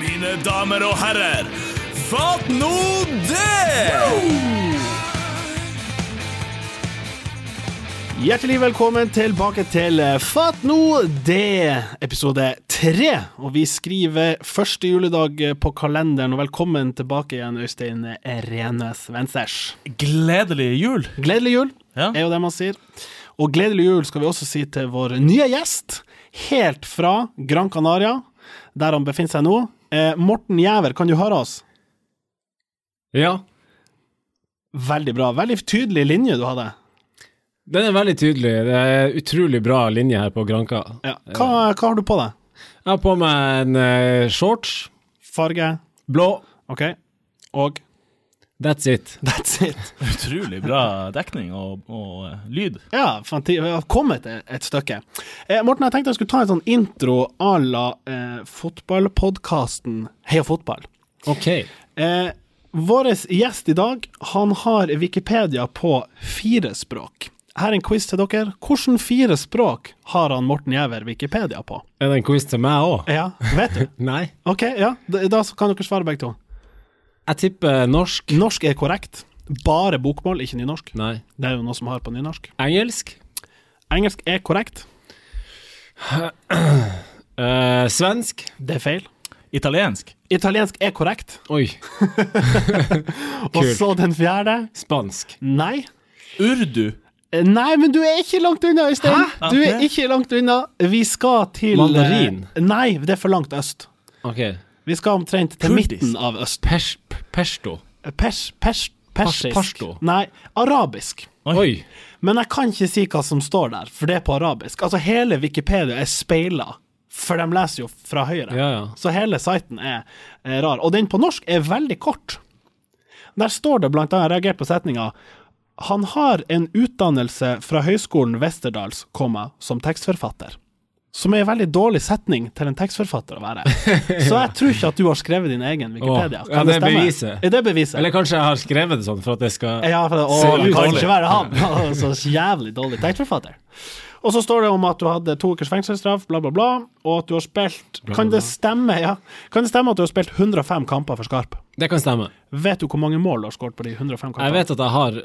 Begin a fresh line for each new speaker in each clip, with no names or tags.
mine damer og herrer. Fatt nå det!
Hjertelig velkommen tilbake til Fatt nå det, episode tre. Og vi skriver første juledag på kalenderen, og velkommen tilbake igjen, Øystein Renes Vensers.
Gledelig jul.
Gledelig jul,
Ja.
er jo det man sier. Og gledelig jul skal vi også si til vår nye gjest, helt fra Gran Canaria, der han befinner seg nå. Eh, Morten Jæver, kan du høre oss?
Ja,
Veldig bra. Veldig tydelig linje du hadde.
den er veldig tydelig. Det er utrolig bra linje her på Granka.
Ja. Hva, hva har du på deg?
Jeg har på meg en eh, shorts,
Farge?
blå.
OK. Og
That's it.
that's it.
Utrolig bra dekning og, og eh, lyd.
Ja, fanti- vi har kommet et, et stykke. Eh, Morten, jeg tenkte jeg skulle ta en sånn intro à la eh, fotballpodkasten Heia fotball.
Ok.
Eh, Vår gjest i dag han har Wikipedia på fire språk. Her er en quiz til dere. Hvilke fire språk har han Morten Jæver Wikipedia på?
Er det en quiz til meg òg?
Ja, vet du?
Nei.
Ok, ja, da, da så kan dere svare begge to.
Jeg tipper norsk.
Norsk er korrekt. Bare bokmål, ikke nynorsk.
Nei.
Det er jo noe som har på nynorsk.
Engelsk.
Engelsk er korrekt.
Eh, svensk.
Det er feil.
Italiensk.
Italiensk er korrekt.
Oi.
Og
Kult.
så den fjerde.
Spansk.
Nei.
Urdu.
Eh, Nei, men du er ikke langt unna, Øystein.
Hæ?
Du er
Ok.
ikke langt unna. Vi skal til eh,
Mandarin.
Nei, det er for langt øst.
Ok.
Vi skal omtrent til
Kurdisk.
midten av øst.
Pers p- Persto.
Pers, pers, persisk.
pashto.
Nei, arabisk.
Oi.
Oi.
Men jeg kan ikke si hva som står der, for det er på arabisk. Altså, hele Wikipedia er speila, for de leser jo fra høyre.
Ja, ja.
Så hele siten er, eh, rar. Og den på norsk er veldig kort. Der står det blant annet, jeg reagerte på setninga Han har en utdannelse fra Høgskolen Westerdals, komma, som tekstforfatter. Som er en veldig dårlig setning til en tekstforfatter å være. Så jeg tror ikke at du har skrevet din egen Wikipedia.
Åh, ja, det er beviset.
Er det beviset?
Eller kanskje jeg har skrevet det sånn for at jeg skal
Ja, for det, å,
Ser
det
ut
kan
dårlig.
ikke være han. Altså, så jævlig dårlig tekstforfatter. Og så står det om at du hadde to ukers fengselsstraff, bla, bla, bla, og at du har spilt
Bla, bla,
Kan
bla.
det stemme ja? Kan det stemme at du har spilt 105 kamper for Skarp?
Det kan stemme.
Vet du hvor mange mål du har skåret på de 105 kampene?
Jeg vet at jeg har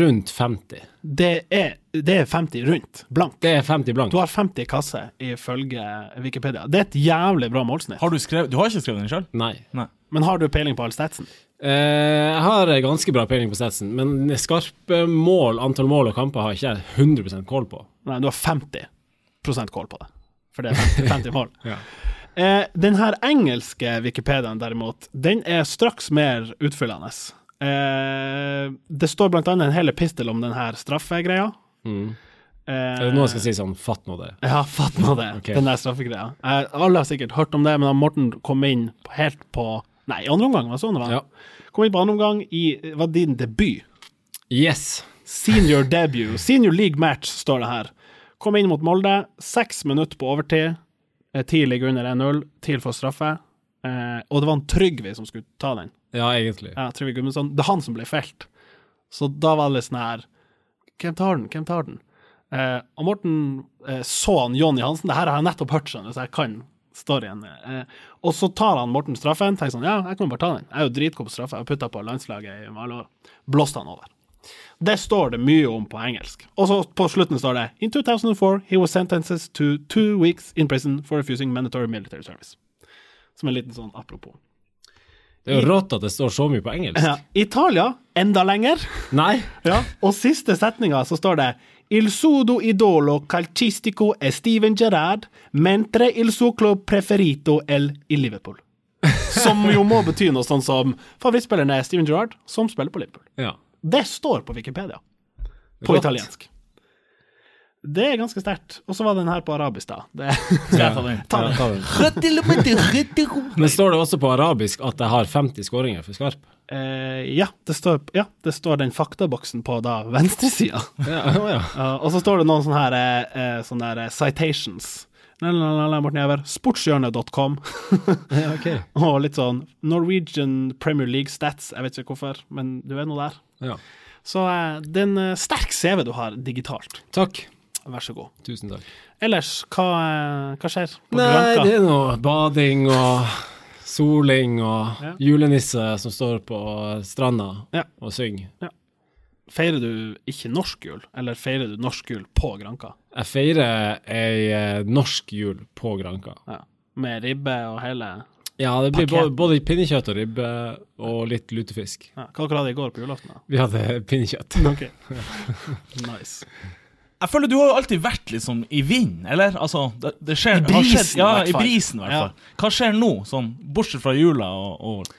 rundt 50.
Det, er, det er 50 rundt. Blank.
Det er 50 blank.
Du har 50 kasser ifølge Wikipedia. Det er et jævlig bra målsnitt.
Har du skrevet Du har ikke skrevet den sjøl?
Nei.
Nei.
Men har du peiling på all statsen?
Eh, Jeg har ganske bra peiling på statsen, men skarpe mål, antall mål og kamper har ikke jeg 100 kål på.
Nei, du har 50 kål på det. For det er 50, 50 mål.
Ja.
Eh, den her engelske Wikipediaen derimot, den er straks mer utfyllende. Eh, det står blant annet en hel epistel om den her straffegreia.
Mm.
Eh,
Er det noe jeg skal si sånn, fatt nå det.
Ja, fatt nå det.
Ok.
Den der straffegreia. Eh, alle har sikkert hørt om det, men han Morten kom inn på- helt på Nei, i andre omgang, var det sånn det var?
Ja.
Kom inn på andre omgang i var din debut.
Yes!
Senior debut. Senior league match, står det her. Kom inn mot Molde. Seks minutter på overtid. Eh, TIL ligger under 1-0. TIL får straffe. Eh, og det var en Trygve som skulle ta den.
Ja, egentlig.
Ja, Trygve Gudmundsson. sånn- Det er han som ble felt. Så da var det litt sånn her Hvem tar den? Hvem tar den? Eh, og Morten eh, så han Jonny Hansen. Det her har jeg nettopp hørt, skjønner du, så jeg kan storyen. Eh, og så tar han Morten straffen. Tenker sånn Ja, jeg kan bare ta den. Jeg er jo dritgod på straffe. Jeg har putta på landslaget i alle år. Blåste han over. Det står det mye om på engelsk. Og så på slutten står det In 2004 he was sentenced to two weeks in prison for refusing mandatory military service. Som en liten sånn apropos.
Det er jo rått at det står så mye på engelsk.
Ja. Italia enda lenger.
Nei!
Ja. Og siste setninga så står det Il sudo idolo calcistico è Steven Gerrard, mentre il suo club preferito è il Liverpool. Som jo må bety noe sånn som favorittspilleren er Steven Gerrard, som spiller på Liverpool.
Ja.
Det står på Wikipedia. På
Rått.
italiensk. Det er ganske sterkt. Og så var den her på arabisk, da. Det,
Skal jeg ta den?
ta
Ja,
den.
ta den. Men står det også på arabisk at jeg har 50 skåringer for Skarp?
Eh, ja, det står, ja, det står den faktaboksen på da venstresida.
Ja, å ja.
Ja, Eh, og så står det noen sånne, her, eh, eh, sånne her, eh, citations. La, la, la, la, Morten Jæver. Sportshjørnet.com.
ja ok.
og litt sånn Norwegian Premier League Stats. Jeg vet ikke hvorfor, men du er nå der.
Ja.
Så eh, det er en eh, sterk CV du har digitalt.
Takk.
Vær så god.
Tusen takk.
Ellers, hva, eh, hva skjer? På
Nei,
Granka?
det er noe bading og soling og
Ja.
julenisse som står på stranda
Ja.
og synger.
Feirer du ikke norsk jul, eller feirer du norsk jul på Granka?
Jeg feirer ei eh, norsk jul på Granka.
Ja. Med ribbe og hele
Ja, det blir både,
Pakke.
både pinnekjøtt og ribbe og litt lutefisk.
ja. Hva dere hadde i går på julaften? da?
Vi hadde pinnekjøtt.
Ok. nice.
Jeg føler du har jo alltid vært liksom i vinden, eller? Altså, det, det skjer,
I
har
brisen,
skjedd, ja,
i hvert
i
fall.
brisen, i hvert fall. Hva skjer nå, sånn, bortsett fra jula og, og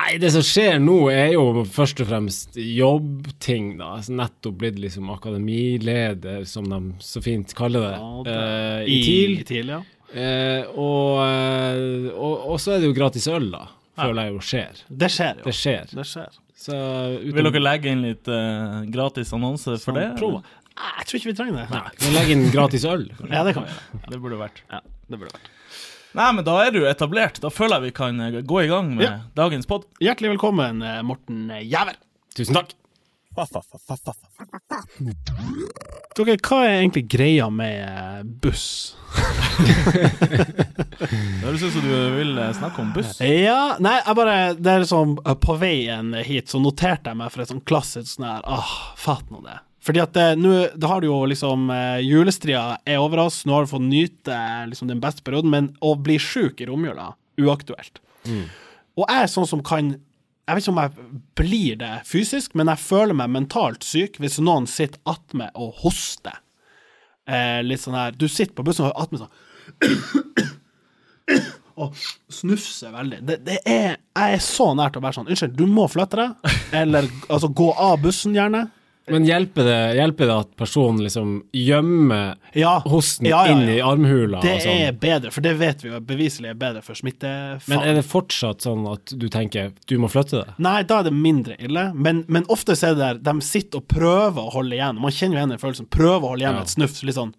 Nei, det som skjer nå er jo først og fremst jobbting, da. Altså, nettopp blitt liksom akademileder, som de så fint kaller det,
Ja,
eh,
det-
i TIL.
I TIL, ja.
Eh, og, eh, og, og så er det jo gratis øl, da. Føler jeg jo skjer.
Det skjer jo.
Det skjer.
Det skjer.
Så
Vil dere legge inn litt eh, gratis annonse for det?
Prova. Nei, Jeg tror ikke vi trenger det. Nei.
Vi legger inn gratis øl.
Ja, det kan vi gjøre.
Det burde vært.
Ja, det burde vært.
Nei, men da er du etablert. Da føler jeg vi kan eh, gå i gang med
Ja.
dagens pod.
Hjertelig velkommen, eh, Morten Jæver.
Tusen takk.
Dere, hva er egentlig greia med eh, buss?
Det høres ut som du vil eh, snakke om buss.
Ja, nei, jeg bare Det er liksom eh, På veien hit så noterte jeg meg for et sånn klassisk sånn her Åh, fatt nå det. Fordi at eh, nå Da har du jo liksom eh, Julestria er over oss, nå har du fått nyte eh, liksom den beste perioden, men å bli sjuk i romjula, uaktuelt. Og jeg er sånn som kan Jeg vet ikke om jeg blir det fysisk, men jeg føler meg mentalt syk hvis noen sitter attmed og hoster. Eh, litt sånn her Du sitter på bussen og har attmed sånn og snufse veldig. Det, det er, jeg er så nær til å være sånn Unnskyld, du må flytte deg. Eller altså, gå av bussen, gjerne.
Men hjelper det, hjelper det at personen liksom gjemmer
Ja.
hosten
Ja, ja, ja.
inn i armhula?
Det
og sånn?
er bedre, for det vet vi jo er beviselig er bedre for
Men er
smittefaren.
det fortsatt sånn at du tenker du må flytte deg?
Nei, da er det mindre ille, men, men ofte så er det der de sitter og prøver å holde igjen. Man kjenner jo igjen den følelsen. Prøver å holde igjen
Ja.
et snufs, litt sånn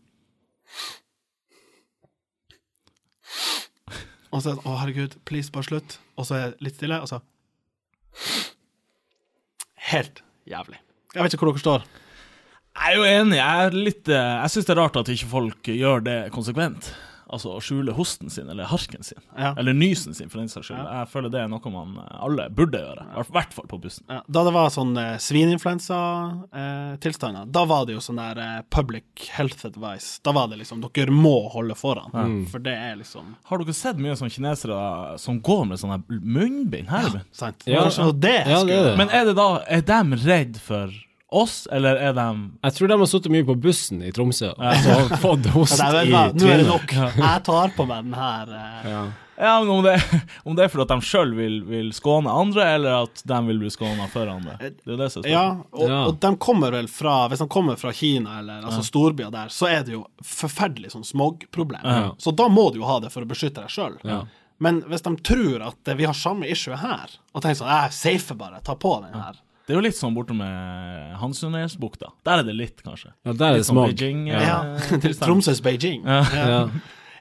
Og så er det sånn, Å, herregud, please, bare slutt. Og så er det litt stille, og så Helt jævlig. Jeg vet ikke hvor dere står.
Jeg er jo enig. Jeg, er litt, eh, jeg syns det er rart at ikke folk gjør det konsekvent. Altså å skjule hosten sin eller harken sin.
Ja.
Eller nysen sin, for den saks skyld. Jeg føler det er noe man eh, alle burde gjøre. I hvert- hvert fall på bussen.
Ja, da det var sånn eh, svininfluensatilstander, da var det jo sånn der eh, public health advice. Da var det liksom dere må holde foran, for det er liksom
Har dere sett mye sånne kinesere som går med sånne munnbind her?
sant.
Ja,
Kanskje noe det
ja, det er det.
skulle
Men er det da Er de redd for oss, eller er de
Jeg tror de har sittet mye på bussen i Tromsø og så fått host
Ja, nei,
i
vet du hva, Nå er det
trynet.
nok. Jeg tar på meg den her. eh,
Ja.
Ja, men om det, om det er fordi at de sjøl vil, vil skåne andre, eller at de vil bli skåna for andre. Det er jo det som er
Ja,
spørsmålet.
og,
Ja.
og de kommer vel fra Hvis de kommer fra Kina eller altså storbyer der, så er det jo forferdelig sånn smogproblem.
Ja.
Så da må du jo ha det for å beskytte deg sjøl.
Ja.
Men hvis de tror at eh, vi har samme issue her, og tenker sånn Jeg safer bare, ta på den her.
Det er jo litt sånn borte med Hansunesbukta. Der er det litt, kanskje.
ja, der er det
Litt sånn
smog.
Beijing,
Ja.
Ja, til Tromsøs Beijing. Ja.
Ja.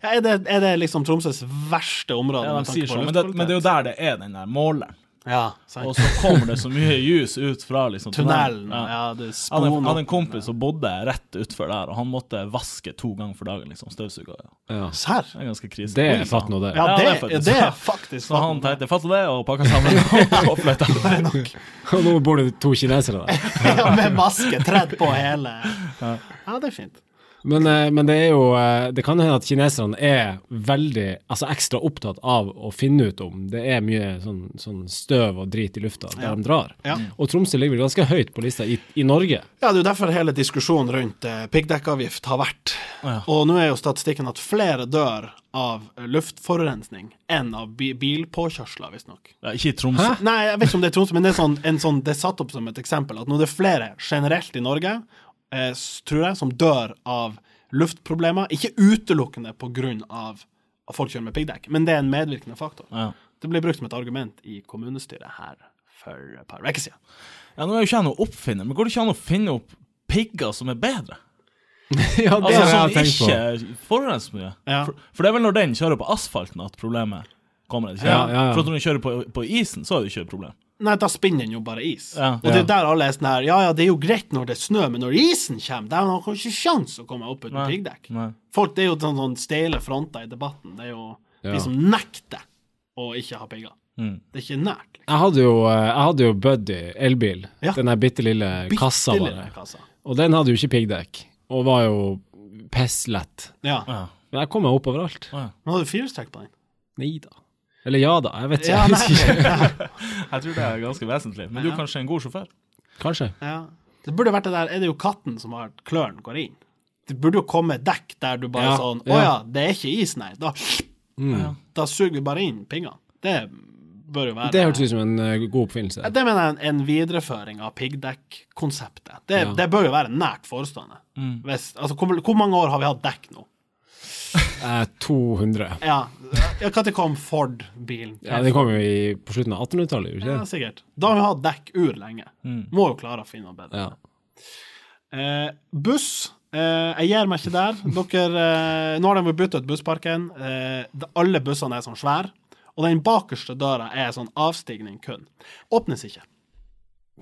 Er, det, er det liksom Tromsøs verste område?
Ja,
med
de
tanke
sier
på
sånn, men, det, men det er jo der
luftkvalitet?
det er den der måleren.
Ja,
Og
sant.
så kommer det så mye ljus ut fra liksom
Tunnelen,
Ja.
ja, det
Jeg hadde, en- jeg hadde
sponer
en kompis som bodde rett utfor der, og han måtte vaske to ganger for dagen. liksom, Støvsuga. Ja.
Ja.
Serr?
Det er ganske krise.
Det er
Oi,
fatt nå, det.
Ja,
Ja,
det,
det er faktisk-
det er faktisk
Så han tenkte fatt det, og pakka sammen og- og flytta.
Og nå bor det to kinesere der.
Ja, Med maske, tredd på hele Ja, det er fint.
Men, eh, men det er jo eh, Det kan hende at kineserne er veldig Altså ekstra opptatt av å finne ut om det er mye sånn, sånn støv og drit i lufta der de drar.
Ja.
Og Tromsø ligger vel ganske høyt på lista i, i Norge.
Ja, Det er jo derfor hele diskusjonen rundt eh, piggdekkavgift har vært.
Ja.
Og nå er jo statistikken at flere dør av eh, luftforurensning enn av bi bilpåkjørsler, visstnok.
Ja, ikke i Tromsø.
Nei, jeg vet ikke om det er Tromsø, men det er, sånn, en sånn, det er satt opp som et eksempel at nå er det flere generelt i Norge, eh, s- tror jeg, som dør av luftproblemer. Ikke utelukkende på grunn av at folk kjører med piggdekk, men det er en medvirkende faktor.
Ja.
Det ble brukt som et argument i kommunestyret her for et par uker siden.
Ja, nå er jo ikke jeg noen oppfinner, men går det ikke an å finne opp pigger som er bedre?
ja, det
Altså,
har jeg
Som
tenkt på.
ikke forurenser mye.
Ja.
For, for det er vel når den kjører på asfalten at problemet kommer. Ikke?
Ja, ja, ja.
For at når den kjører på, på isen, så er det ikke et problem.
Nei, da spinner den jo bare is.
Ja.
Og det er jo der alle er sånn her Ja, ja, det er jo greit når det er snø, men når isen kommer, der har man ikke sjans å komme opp uten
Nei.
piggdekk.
Nei.
Folk, det er jo sånn, sånn steile fronter i debatten. Det er jo
Ja.
de som nekter og ikke ha pigger.
Mm.
Det er ikke nært. Liksom.
Jeg hadde jo, eh, jeg hadde jo Buddy elbil,
Ja.
den der bitte lille kassa
Bitte
bare.
lille kassa.
Og den hadde jo ikke piggdekk, og var jo pisslett.
Ja.
Ja.
Men jeg kom meg opp overalt.
Å, ja.
Men hadde du firestrekk på den?
Nei da. Eller ja da, jeg vet ikke.
Ja,
jeg
nei.
husker ikke.
Jeg tror det er ganske vesentlig. Men du er kanskje en god sjåfør?
Kanskje.
Ja. Det burde vært det der Er det jo katten som har klørne går inn? Det burde jo komme et dekk der du bare
Ja,
sånn Å
ja.
ja, det er ikke is, nei. Da,
Mm.
da suger vi bare inn pingene. Det bør jo være
Det hørtes ut som en eh, god oppfinnelse.
Det mener jeg er en, en videreføring av piggdekk-konseptet. Det,
Ja.
det bør jo være nært forestående. Hvis, altså, hvor, hvor mange år har vi hatt dekk nå?
Eh, 200.
Ja, ja Når kom Ford-bilen?
Ja, den kom jo i, på slutten av 1800-tallet, gjorde
Ja,
den ikke det?
sikkert. Da har vi hatt dekk ur lenge. Må jo klare å finne noe bedre.
Ja.
Eh, buss. Eh, jeg gir meg ikke der. Dere, eh, nå har de bytta ut bussparken. Eh, de, alle bussene er sånn svære. Og den bakerste døra er sånn avstigning kun. Åpnes ikke.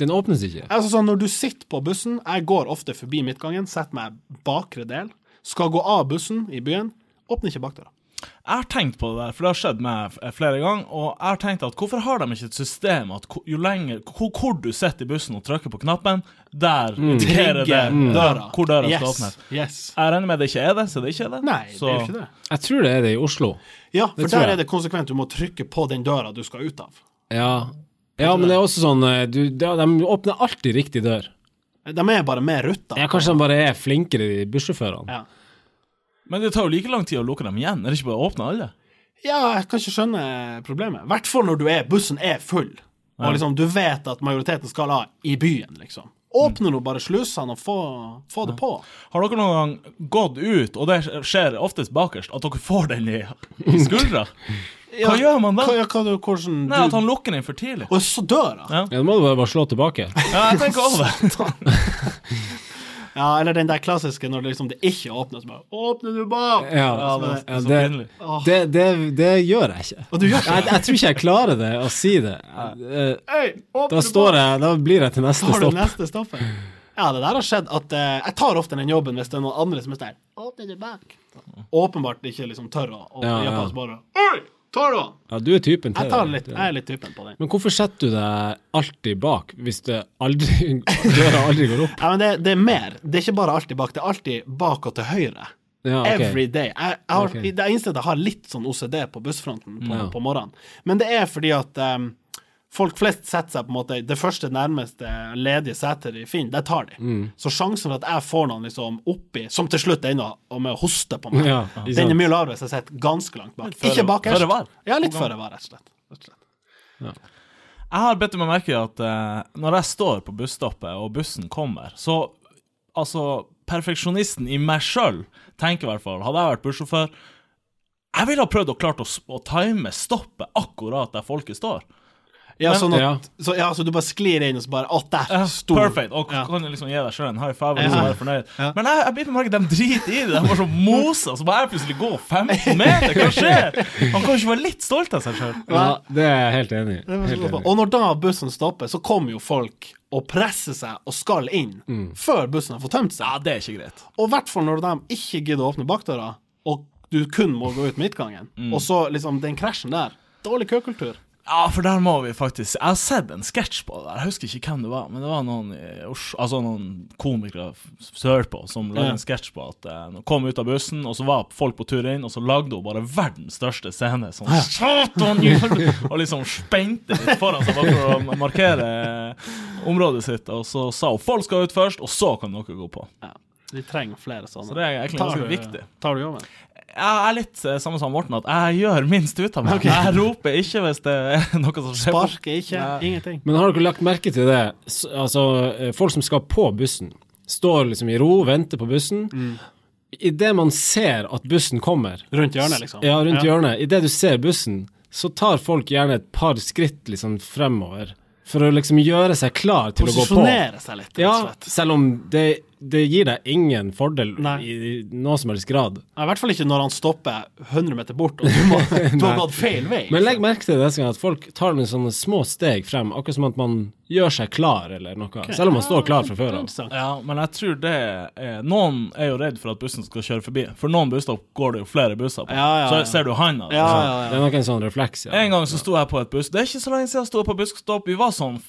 Den åpnes ikke.
Altså sånn, Når du sitter på bussen Jeg går ofte forbi midtgangen, setter meg bakre del, skal gå av bussen i byen, åpner ikke bakdøra.
Jeg har tenkt på det der, for det har skjedd meg f- eh, flere ganger. Og jeg har tenkt at hvorfor har de ikke et system at ko- jo lenger hvor, hvor du sitter i bussen og trykker på knappen, der indikerer det
Trigger døra.
Mm. hvor døra skal
Mm. yes.
åpne?
yes.
Jeg regner med det ikke er det, så det ikke er det.
Nei,
så,
det er jo ikke det.
Jeg tror det er det i Oslo.
Ja, for
Det tror
der
jeg.
er det konsekvent. Du må trykke på den døra du skal ut av.
Ja, ja men det er også sånn eh, du, de, de åpner alltid riktig dør.
De er bare med ruta.
Ja, kanskje de bare er flinkere, de bussjåførene.
Ja.
Men det tar jo like lang tid å lukke dem igjen. Er det ikke bare å åpne alle?
ja, jeg kan ikke skjønne problemet. I hvert fall når du er, bussen er full, og liksom, du vet at majoriteten skal av i byen, liksom. Åpne nå bare slusene og få, få det på.
Har dere noen gang gått ut, og det skjer oftest bakerst, at dere får den i, i skuldra?
Ja,
gjør man da?
Hva, ja, hva, du- hvordan,
Nei, at
du,
han lukker den for tidlig.
og så døra!
Ja, Da må du bare, bare slå tilbake.
Ja, jeg tenker over det.
Ja, eller den der klassiske når det liksom det ikke åpnes. Bare, Åpner du bak?
Ja,
Ja, men-
ja,
så
det,
pinlig.
det, det, det gjør jeg ikke.
Og du gjør
Jeg,
ikke det?
jeg tror ikke jeg klarer det å si det. Eh,
Hei, åpner
Da
du
står
bak?
jeg, da blir jeg til neste
Har du
stopp.
neste stoppet? Ja, det der har skjedd at eh, jeg tar ofte den jobben hvis det er noen andre som er der. Åpner du bak? Åpenbart ikke liksom tør å å
Ja,
gjøre
ja.
på oss bare. Oi, tar du han?
Ja, du er typen til
Jeg tar
det.
litt, jeg er litt typen på den.
Men hvorfor setter du deg alltid bak hvis det aldri, døra aldri går opp?
Ja, men det, det er mer. Det er ikke bare alltid bak, det er alltid bak og til høyre.
Ja, ok.
Every day. Jeg, jeg har,
Ok.
Det er eneste at jeg har litt sånn OCD på bussfronten på,
Ja.
på morgenen. Men det er fordi at em, folk flest setter seg på en måte i det første nærmeste ledige setet de finner, det tar de.
Mm.
Så sjansen for at jeg får noen liksom oppi, som til slutt ender og med å hoste på meg,
Ja, ikke
den
sant.
er mye lavere hvis jeg sitter ganske langt bak.
føre-
Ikke bakerst.
føre var.
Ja, litt føre var, rett og slett. Rett og slett.
Jeg har bedt meg merke i at eh, når jeg står på busstoppet, og bussen kommer, så Altså, perfeksjonisten i meg sjøl tenker i hvert fall Hadde jeg vært bussjåfør Jeg ville ha prøvd å klart å, s- å time stoppet akkurat der folket står.
Ja,
Men-
sånn at,
Ja.
Så, ja, så du bare sklir inn, og så bare Å, der!
Ja,
stor.
Perfect. Og
Ja.
kan liksom gi deg sjøl en high five og
Ja.
liksom være fornøyd. Men jeg, jeg blir merke de driter i det. De bare så moser, så bare jeg plutselig går 15 meter. Hva skjer? Han kan jo ikke være litt stolt av seg sjøl.
Ja, det er jeg helt enig i. Helt enig. i.
Og når da bussen stopper, så kommer jo folk og presser seg og skal inn
Mm.
før bussen har fått tømt seg.
Ja, det er ikke greit.
Og i hvert fall når de ikke gidder å åpne bakdøra, og du kun må gå ut midtgangen,
Mm.
og så liksom den krasjen der. Dårlig køkultur.
Ja, for der må vi faktisk Jeg har sett en sketsj på det der. Jeg husker ikke hvem det var, men det var noen i Oslo Altså noen komikere f- sørpå som lagde
Ja.
en sketsj på at eh, de kom ut av bussen, og så var folk på tur inn, og så lagde hun bare verdens største scene. Sånn Satan! i helvete!» Og liksom spente litt foran seg bare for å markere området sitt. Og så sa hun folk skal ut først, og så kan dere gå på.
Ja. Vi trenger flere sånne.
Så det er egentlig ganske viktig.
Tar du jobben?
Jeg er litt eh, samme som Morten, at jeg gjør minst ut av meg. Jeg roper ikke hvis det er noe som skjer. på
Sparker ikke, ingenting.
Men har dere lagt merke til det? S- Altså, eh, folk som skal på bussen, står liksom i ro, venter på bussen. Idet man ser at bussen kommer,
Mm. Rundt hjørnet, liksom.
ja, rundt
Ja.
hjørnet, idet du ser bussen, så tar folk gjerne et par skritt liksom fremover for å liksom gjøre seg klar til å gå på.
Posisjonere seg litt, rett og
Ja,
slett.
selv om det det gir deg ingen fordel
Nei.
i, i noe som helst grad.
Ja, I hvert fall ikke når han stopper 100 meter bort, og du, må, du har
Nei.
gått feil vei.
Men legg merke til neste gang at folk tar med sånne små steg frem, akkurat som at man gjør seg klar eller noe, selv om man står klar fra før av.
Interessant.
Ja, men jeg tror det er Noen er jo redd for at bussen skal kjøre forbi. For noen busstopp går det jo flere busser på.
Ja, ja, ja.
Så ser du handa.
Ja, ja,
Det
ja.
er nok en sånn refleks, ja.
En gang så sto jeg på et buss Det er ikke så lenge siden jeg sto på busstopp. Vi var sånn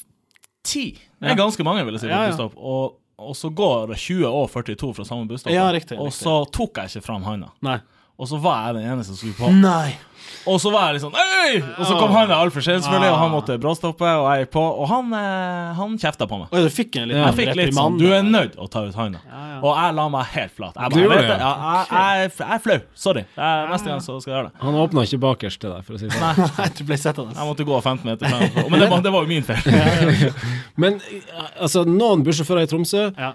ti. Det
Ja.
er ganske mange, vil jeg si. på
Ja, ja.
busstopp Og, og så går 20 og 42 fra samme busstopp.
Ja, riktig,
og
riktig.
så tok jeg ikke fram handa.
Nei.
Og så var jeg den eneste som skulle på.
Nei.
Og så var jeg litt sånn Øy! Og så kom han der altfor sent, selvfølgelig, og han måtte bråstoppe, og jeg gikk på. Og han, eh, han kjefta på meg.
Oi, du fikk en liten
Jeg fikk litt sånn
reprimande.
Du er nødt å ta ut handa. Og jeg la meg helt flat. Jeg,
Du
bare, jeg,
gjorde
vet,
det,
det, ja, jeg, jeg, jeg er flau. Sorry. Jeg, neste gang så skal jeg gjøre det.
Han åpna ikke bakerst til deg, for å si det sånn.
Nei, du ble sittende.
Jeg måtte gå 15 meter frem. Men det var, det var jo min feil.
Men altså, noen bussjåfører i Tromsø
Ja.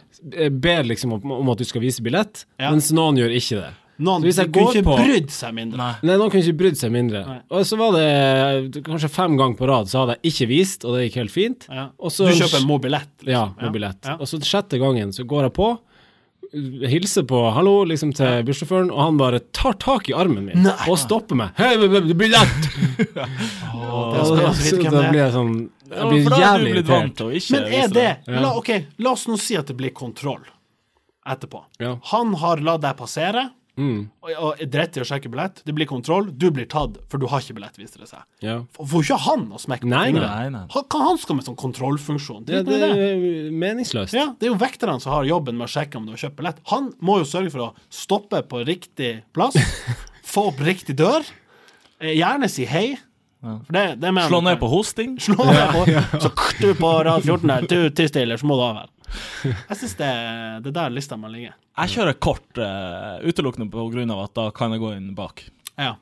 ber liksom om, om at du skal vise billett,
Ja.
mens noen gjør ikke det.
Noen
Så hvis jeg
kunne
går
ikke
på-
brydd seg mindre.
Nei.
Nei, noen kunne ikke brydd seg mindre.
Nei.
Og så var det eh, kanskje fem ganger på rad, så hadde jeg ikke vist, og det gikk helt fint.
Ja.
Og
Du
så-
kjøper en mobilett. liksom.
Ja, med billett.
Ja.
Og så den sjette gangen så går jeg på, hilser på hallo liksom til bussjåføren, og han bare tar tak i armen min
Nei.
og stopper meg. Hei, b- b- billett!
Åh, det
Og
skal jeg
da
også vite hvem det
da
er.
blir jeg sånn
Ja,
Jeg blir
for da er du
jævlig
blitt vant
irritert.
til å ikke
Men er
vise
det
Ja.
la, Ok, la oss nå si at det blir kontroll etterpå.
Ja.
Han har latt deg passere, og, og er dritt i å sjekke billett. Det blir kontroll, du blir tatt, for du har ikke billett, viser det seg.
Ja.
F- Får ikke han å smekke på
Nei,
fingrene?
nei, nei.
Han, hva han skal med sånn kontrollfunksjon?
Det,
Drit
det
nå i det.
er meningsløst.
Ja, det er jo vekterne som har jobben med å sjekke om du har kjøpt billett. Han må jo sørge for å stoppe på riktig plass, få opp riktig dør, eh, gjerne si hei. For det, det mener
Slå
jeg-
ned på hosting.
slå deg på, så kutt du på rad 14 der, du tistiller, så må du av her. Jeg syns det, det er der lista må ligge.
Jeg kjører kort eh, utelukkende på grunn av at da kan jeg gå inn bak.
Ja,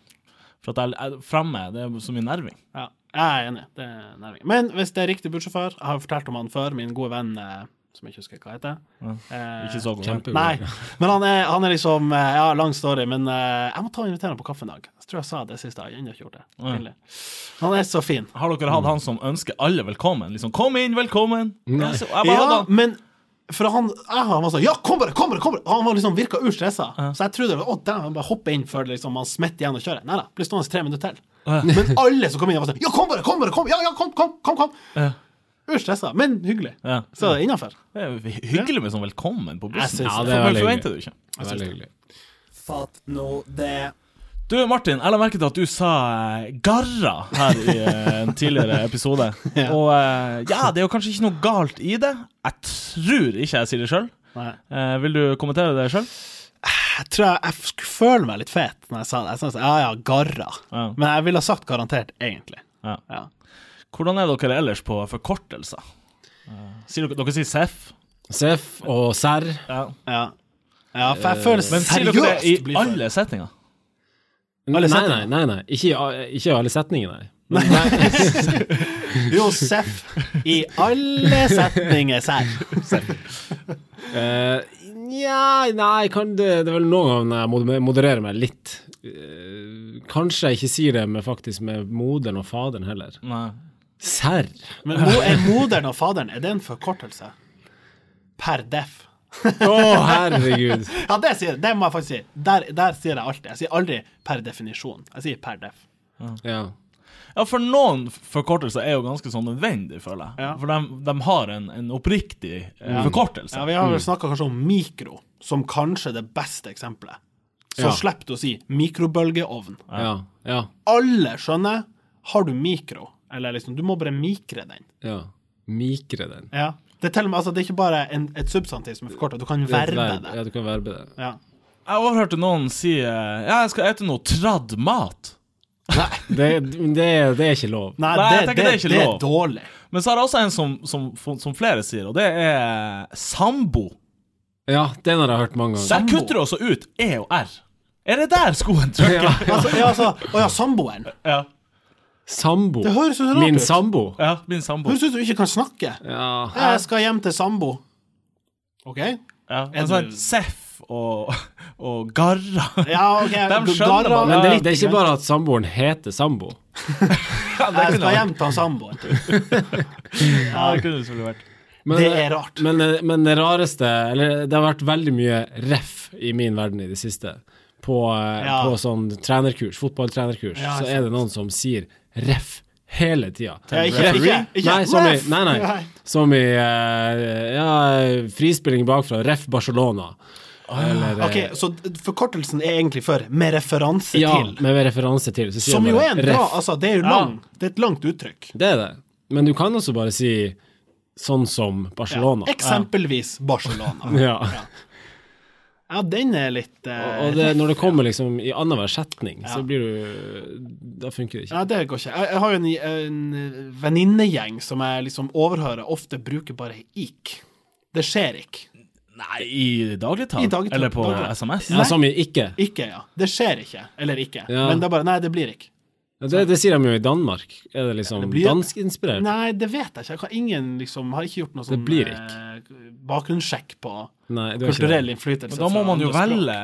For at jeg, jeg fremme, det er så mye nerving.
ja. Jeg er enig. Det er nerving. Men hvis det er riktig bussjåfør, jeg har fortalt om han før, min gode venn eh, som jeg ikke husker hva heter. Eh,
Ikke så god.
Kjempegod.
Nei, men han er, han er liksom eh, Ja, lang story, men eh, jeg må ta og invitere ham på kaffe en dag. Jeg tror jeg sa det sist, jeg har ennå ikke gjort det. Pinlig. Han er så fin.
Har dere hatt han som ønsker alle velkommen? Liksom, kom inn, velkommen! Jeg så- jeg bare hadde
Ja,
han.
men for han, jeg, han var sånn Ja, kom bare, kom bare! kom bare Han var liksom virka urstressa. Så jeg trodde å, dæven, bare hoppe inn før det liksom, han smetter igjen og kjører. Nei da, blir stående tre minutter til. Men alle som kom inn, var sånn Ja, kom bare! Kom bare! Kom! Ja, ja, kom! kom, kom, kom.
Ja.
Urstressa, men hyggelig.
Ja.
Så innafor.
Det er jo hyggelig med sånn velkommen på
Jeg
bussen.
syns
For
det er
man
veldig
forventer det jo ikke.
Veldig hyggelig.
Fatt nå det.
Du Martin, jeg la merke til at du sa eh, garra her i eh, en tidligere episode.
Ja.
Og eh, ja, det er jo kanskje ikke noe galt i det. Jeg tror ikke jeg sier det sjøl.
Nei.
Vil du kommentere det sjøl?
Jeg tror jeg, jeg skulle føle meg litt fet når jeg sa det. Jeg sa sånn, ja, ja, garra.
Ja.
Men jeg ville ha sagt garantert, egentlig.
Ja.
Ja.
Hvordan er dere ellers på forkortelser? Eh, Sier dere, dere sier SEF?
Seff og serr.
Ja.
ja. ja for jeg føler
Men sier dere det
seriøst
i
blir
alle setninger?
Nei,
Alle
nei,
setninger.
nei. nei. Ikke, i- ikke i alle setninger, nei.
Josef i alle setninger sær.
Eh, Nja, nei, kan det, det er vel noen ganger når jeg mod- modererer meg litt. Eh, kanskje jeg ikke sier det med faktisk med moderen og faderen heller.
Nei.
Serr?
Men mo er moderen og faderen, er det en forkortelse? Per def.
Å, herregud.
Ja, det, sier, det må jeg faktisk si. Der, der sier jeg alltid. Jeg sier aldri per definisjon. Jeg sier per def.
Ja.
Ja, for noen f- forkortelser er jo ganske sånn nødvendig, føler jeg.
Ja.
For de, de har en, en oppriktig eh, forkortelse.
Ja, vi har vel snakka kanskje om mikro, som kanskje det beste eksempelet. Så
Ja.
slipper du å si mikrobølgeovn.
Ja. Ja.
Alle skjønner. Har du mikro, eller liksom Du må bare mikre den.
ja. Mikre den.
Ja. Det er til og med, altså, det er ikke bare en, et substantiv som er forkorta, du kan
Det er et
verbe
verb.
det.
Ja, du kan verbe det.
Ja.
Jeg overhørte noen si eh, Ja, jeg skal ete noe tradd mat.
Det, det, det er ikke lov.
Nei,
Nei, jeg
det,
tenker
det,
det er ikke
det er
lov.
dårlig.
Men så er det også en som, som, som flere sier, og det er sambo.
Ja, den har jeg hørt mange ganger.
Der
Sambo.
kutter du også ut E og R. Er det der skoen trykker?
Ja.
Altså, ja, altså, å ja, samboeren.
Ja.
Sambo.
Det høres jo så rart
Min
ut.
sambo.
ja, min sambo.
Høres ut som du ikke kan snakke.
Ja.
Jeg skal hjem til sambo. OK?
Ja,
Er
men så er
du-
det Seff og, og Garra
Ja, OK.
Dem skjønner man.
Men det,
litt
det er ikke
greit.
bare at samboeren heter sambo.
Ja, det kunne
Jeg skal
det vært.
hjem til han samboeren.
Ja, det kunne det selvfølgelig vært.
Men,
Det er rart.
Men, men det rareste Eller det har vært veldig mye ref i min verden i det siste. På, eh,
Ja.
på sånn trenerkurs, fotballtrenerkurs,
Ja,
så er det noen som sier ref hele tida.
Ja, ikke- ikke- ikke
nei, som i,
ref.
nei, nei,
Nei.
Som i eh, ja, frispilling bakfra. Ref Barcelona. Eller, eh,
Ok, Så d- forkortelsen er egentlig for 'med referanse
ja,
til',
med referanse til. Så sier
som
man
jo er en bra
ref.
Altså, det er jo lang, det er et langt uttrykk.
Det er det. Men du kan også bare si sånn som Barcelona.
Ja. Eksempelvis Barcelona.
Ja.
Ja, den er litt eh,
Og det, når det kommer liksom i annenhver setning, så
Ja.
blir du Da funker det ikke.
Ja, det går ikke. Jeg, jeg har jo en, en venninnegjeng som jeg liksom overhører, ofte bruker bare ik. Det skjer ikke.
Nei, i dagligtall?
I dagligtall,
Eller på
dagligtall.
SMS?
Ja, som i ikke.
Ikke, ja. Det skjer ikke. Eller ikke.
Ja.
Men det er bare Nei, det blir ikke.
Det, det sier de jo i Danmark. Er det liksom
Det blir-
danskinspirert?
Nei, det vet jeg ikke. Jeg har ingen liksom Har ikke gjort noe sånn
blir
eh, bakgrunnssjekk på
Nei, det er ikke det.
kulturell
Men
innflytelse.
da må
fra
man jo
andre språk.
velge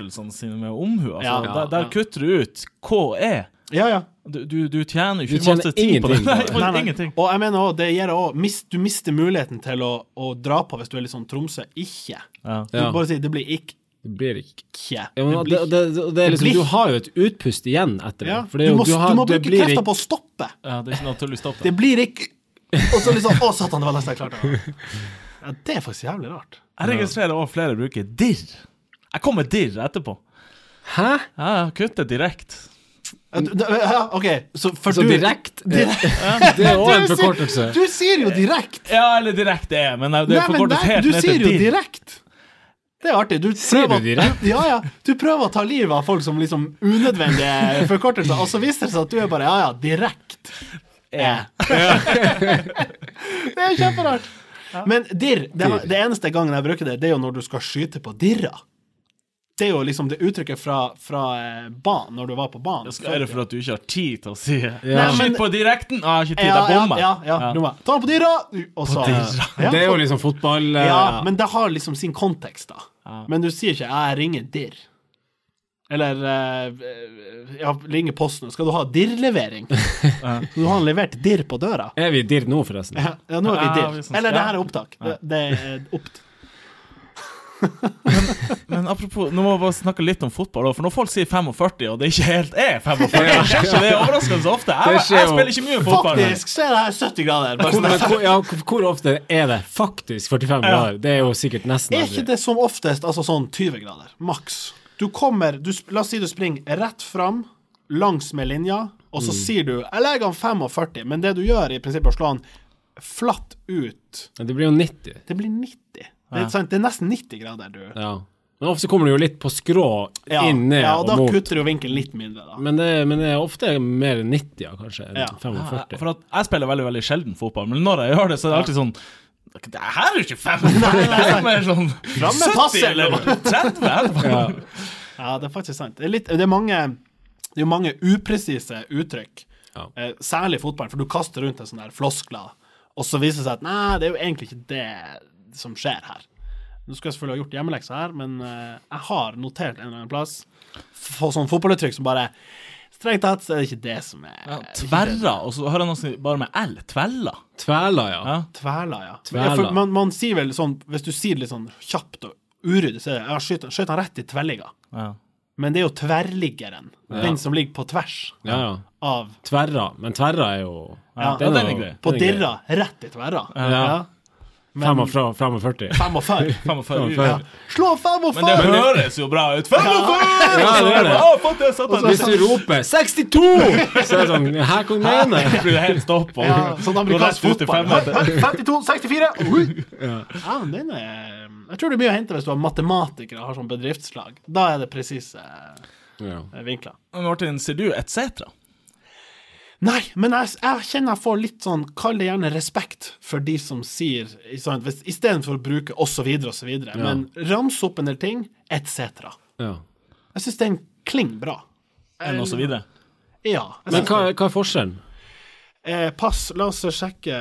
forkortelsene sine med omhu. Altså,
Ja, ja,
der, der
ja.
kutter du ut KE.
Ja, ja.
Du, du, du tjener jo
Du
ikke masse
tjener
tid på det.
ingenting
Nei,
på det.
for
Nei, nei.
ingenting.
Og jeg mener også, det gir også, mist, Du mister muligheten til å, å dra på hvis du er litt sånn Tromsø. Ikke.
Ja.
Du
Ja.
bare sier det blir ikke.
Det blir ikke.
ikke.
Ja, men,
det
det,
blir
det, det, det er liksom,
blir-
du har jo et utpust igjen etter det.
Ja.
For det er
du,
jo,
må,
du, har,
du må
det
bruke
blir
krefter
ikke-
på å stoppe.
ja, det er ikke naturlig stopp.
Det
Da.
blir ikke Og så liksom Å, satan, det var nesten jeg klarte det. Ja, det er faktisk jævlig rart.
Jeg registrerer også flere bruker dirr. Jeg kommer dirr etterpå.
Hæ?
Ja, ja, kutter direkte.
Ja, du- du- ja, OK, så for
Så
du
direkte Det er òg en
Du sier-
forkortelse.
Du sier jo direkte!
Ja, eller direkte er, men det er
Nei, men
forkortet
nei,
helt
du
ned til
sier jo
dirr.
direkte. Det er artig. Du
Sier
prøver-
du direkte?
Ja, ja. Du prøver å ta livet av folk som liksom unødvendige forkortelser, og så viser det seg at du er bare ja, ja, direkte.
Ja.
Det er kjemperart. Men dirr, det, har- det eneste gangen jeg bruker det, det er jo når du skal skyte på dirra. Det er jo liksom det uttrykket fra, fra eh, banen, når du var på banen.
Skal- Er det for at du ikke har tid til å si det?
Ja.
Nei, men- Skyt på direkten! Ah, jeg har ikke tid, jeg
ja,
bommer.
ja, ja. Nå må jeg Ta den på dyra! Og så,
dyra.
Ja.
Det er jo liksom fotball eh,
ja, men det har liksom sin kontekst, da.
Ja.
Men du sier ikke 'jeg ringer dirr'. Eller eh, ja, ringer posten. Skal du ha dirr-levering? Du har levert dirr på døra.
Er vi i dirr nå, forresten?
Ja, ja, nå er vi
Ja,
dirr.
vi syns-
Eller det
ja.
her er opptak. Det, det er opt.
Men apropos, nå må vi bare snakke litt om fotball. også, For når folk sier 45, og det ikke helt er 45 Det skjer ikke, det er overraskende så ofte. Jeg,
Det skjer
jeg
jo.
spiller ikke mye fotball.
Faktisk så er det her 70 grader. Bare
Hvor,
sånn
men,
at-
hvor, ja, hvor ofte er det faktisk 45 grader? Det er jo sikkert nesten
er ikke
aldri.
det som oftest altså sånn 20 grader? Maks. Du kommer du, sp- La oss si du springer rett fram langs med linja, og så sier du 'Jeg legger han 45', men det du gjør, i prinsippet, er å slå han flatt ut.
Men Det blir jo 90.
Det blir 90. Det, er, sant? det er nesten 90 grader, du.
Ja. Men ofte kommer det jo litt på skrå
Ja,
inn, ned
ja og da
og mot.
kutter jo vinkelen litt mindre, da.
Men det, men det er ofte mer enn 90, ja, kanskje, enn
Ja.
Jeg-
45.
For at jeg spiller veldig veldig sjelden fotball, men når jeg gjør det, så er det alltid sånn Det her er jo ikke 45! Det er mer sånn
Fram med
70
passet,
eller
eller
30!
Ja.
Ja.
Ja, det er faktisk sant. Det er, litt, det er, mange, det er jo mange upresise uttrykk,
Ja.
eh, særlig i fotballen, for du kaster rundt en sånn her floskler, og så viser det seg at nei, det er jo egentlig ikke det som skjer her. Nå skulle jeg selvfølgelig ha gjort hjemmeleksa her, men eh, jeg har notert en eller annen plass for sånn fotballuttrykk som bare Strengt tatt så er det ikke det som er
Tverra, og så hører jeg noen si bare med L. Tvella.
Tvela, ja.
Ja.
Tvæla, ja.
Tvæla.
ja for man, man sier vel sånn, hvis du sier det litt sånn kjapt og uryddig, så er det ja, skjøt, skjøt han rett i tvellinga.
Ja.
Men det er jo tverrliggeren. Den som ligger på tvers
ja, ja.
av
Tverra. Men tverra er jo
Ja.
Ja, den er
jo-
grei.
På
den er grei.
dirra, rett i tverra.
Ja. Fem og
Men
fra- 45.
45.
45.
Ja. Slå
Men det
45!
høres jo bra ut. 45!
Ja, det gjør det.
Å, fuck, jeg satt der.
Hvis du roper 62, så er det sånn Her kom jeg inn.
Så blir det helt stopp. Og,
Ja, sånn amerikansk
Går rett ut i
fotball.
femmer.
Hæ? Hæ? 52, 64 Oi. Ja, men den er Jeg tror det er mye å hente hvis du har matematikere og har sånn bedriftslag. Da er det presise eh,
Ja.
vinkler.
Martin, sier du et cetera?
Nei, men jeg, jeg kjenner jeg får litt sånn Kall det gjerne respekt for de som sier i sånn, hvis- i stedet for å bruke og så videre og så videre. Men ramse opp en del ting, etc.
Ja.
Jeg syns den klinger bra.
Enn og så videre.
Ja. Jeg
Men
synes
hva, hva er forskjellen?
Eh, pass, la oss sjekke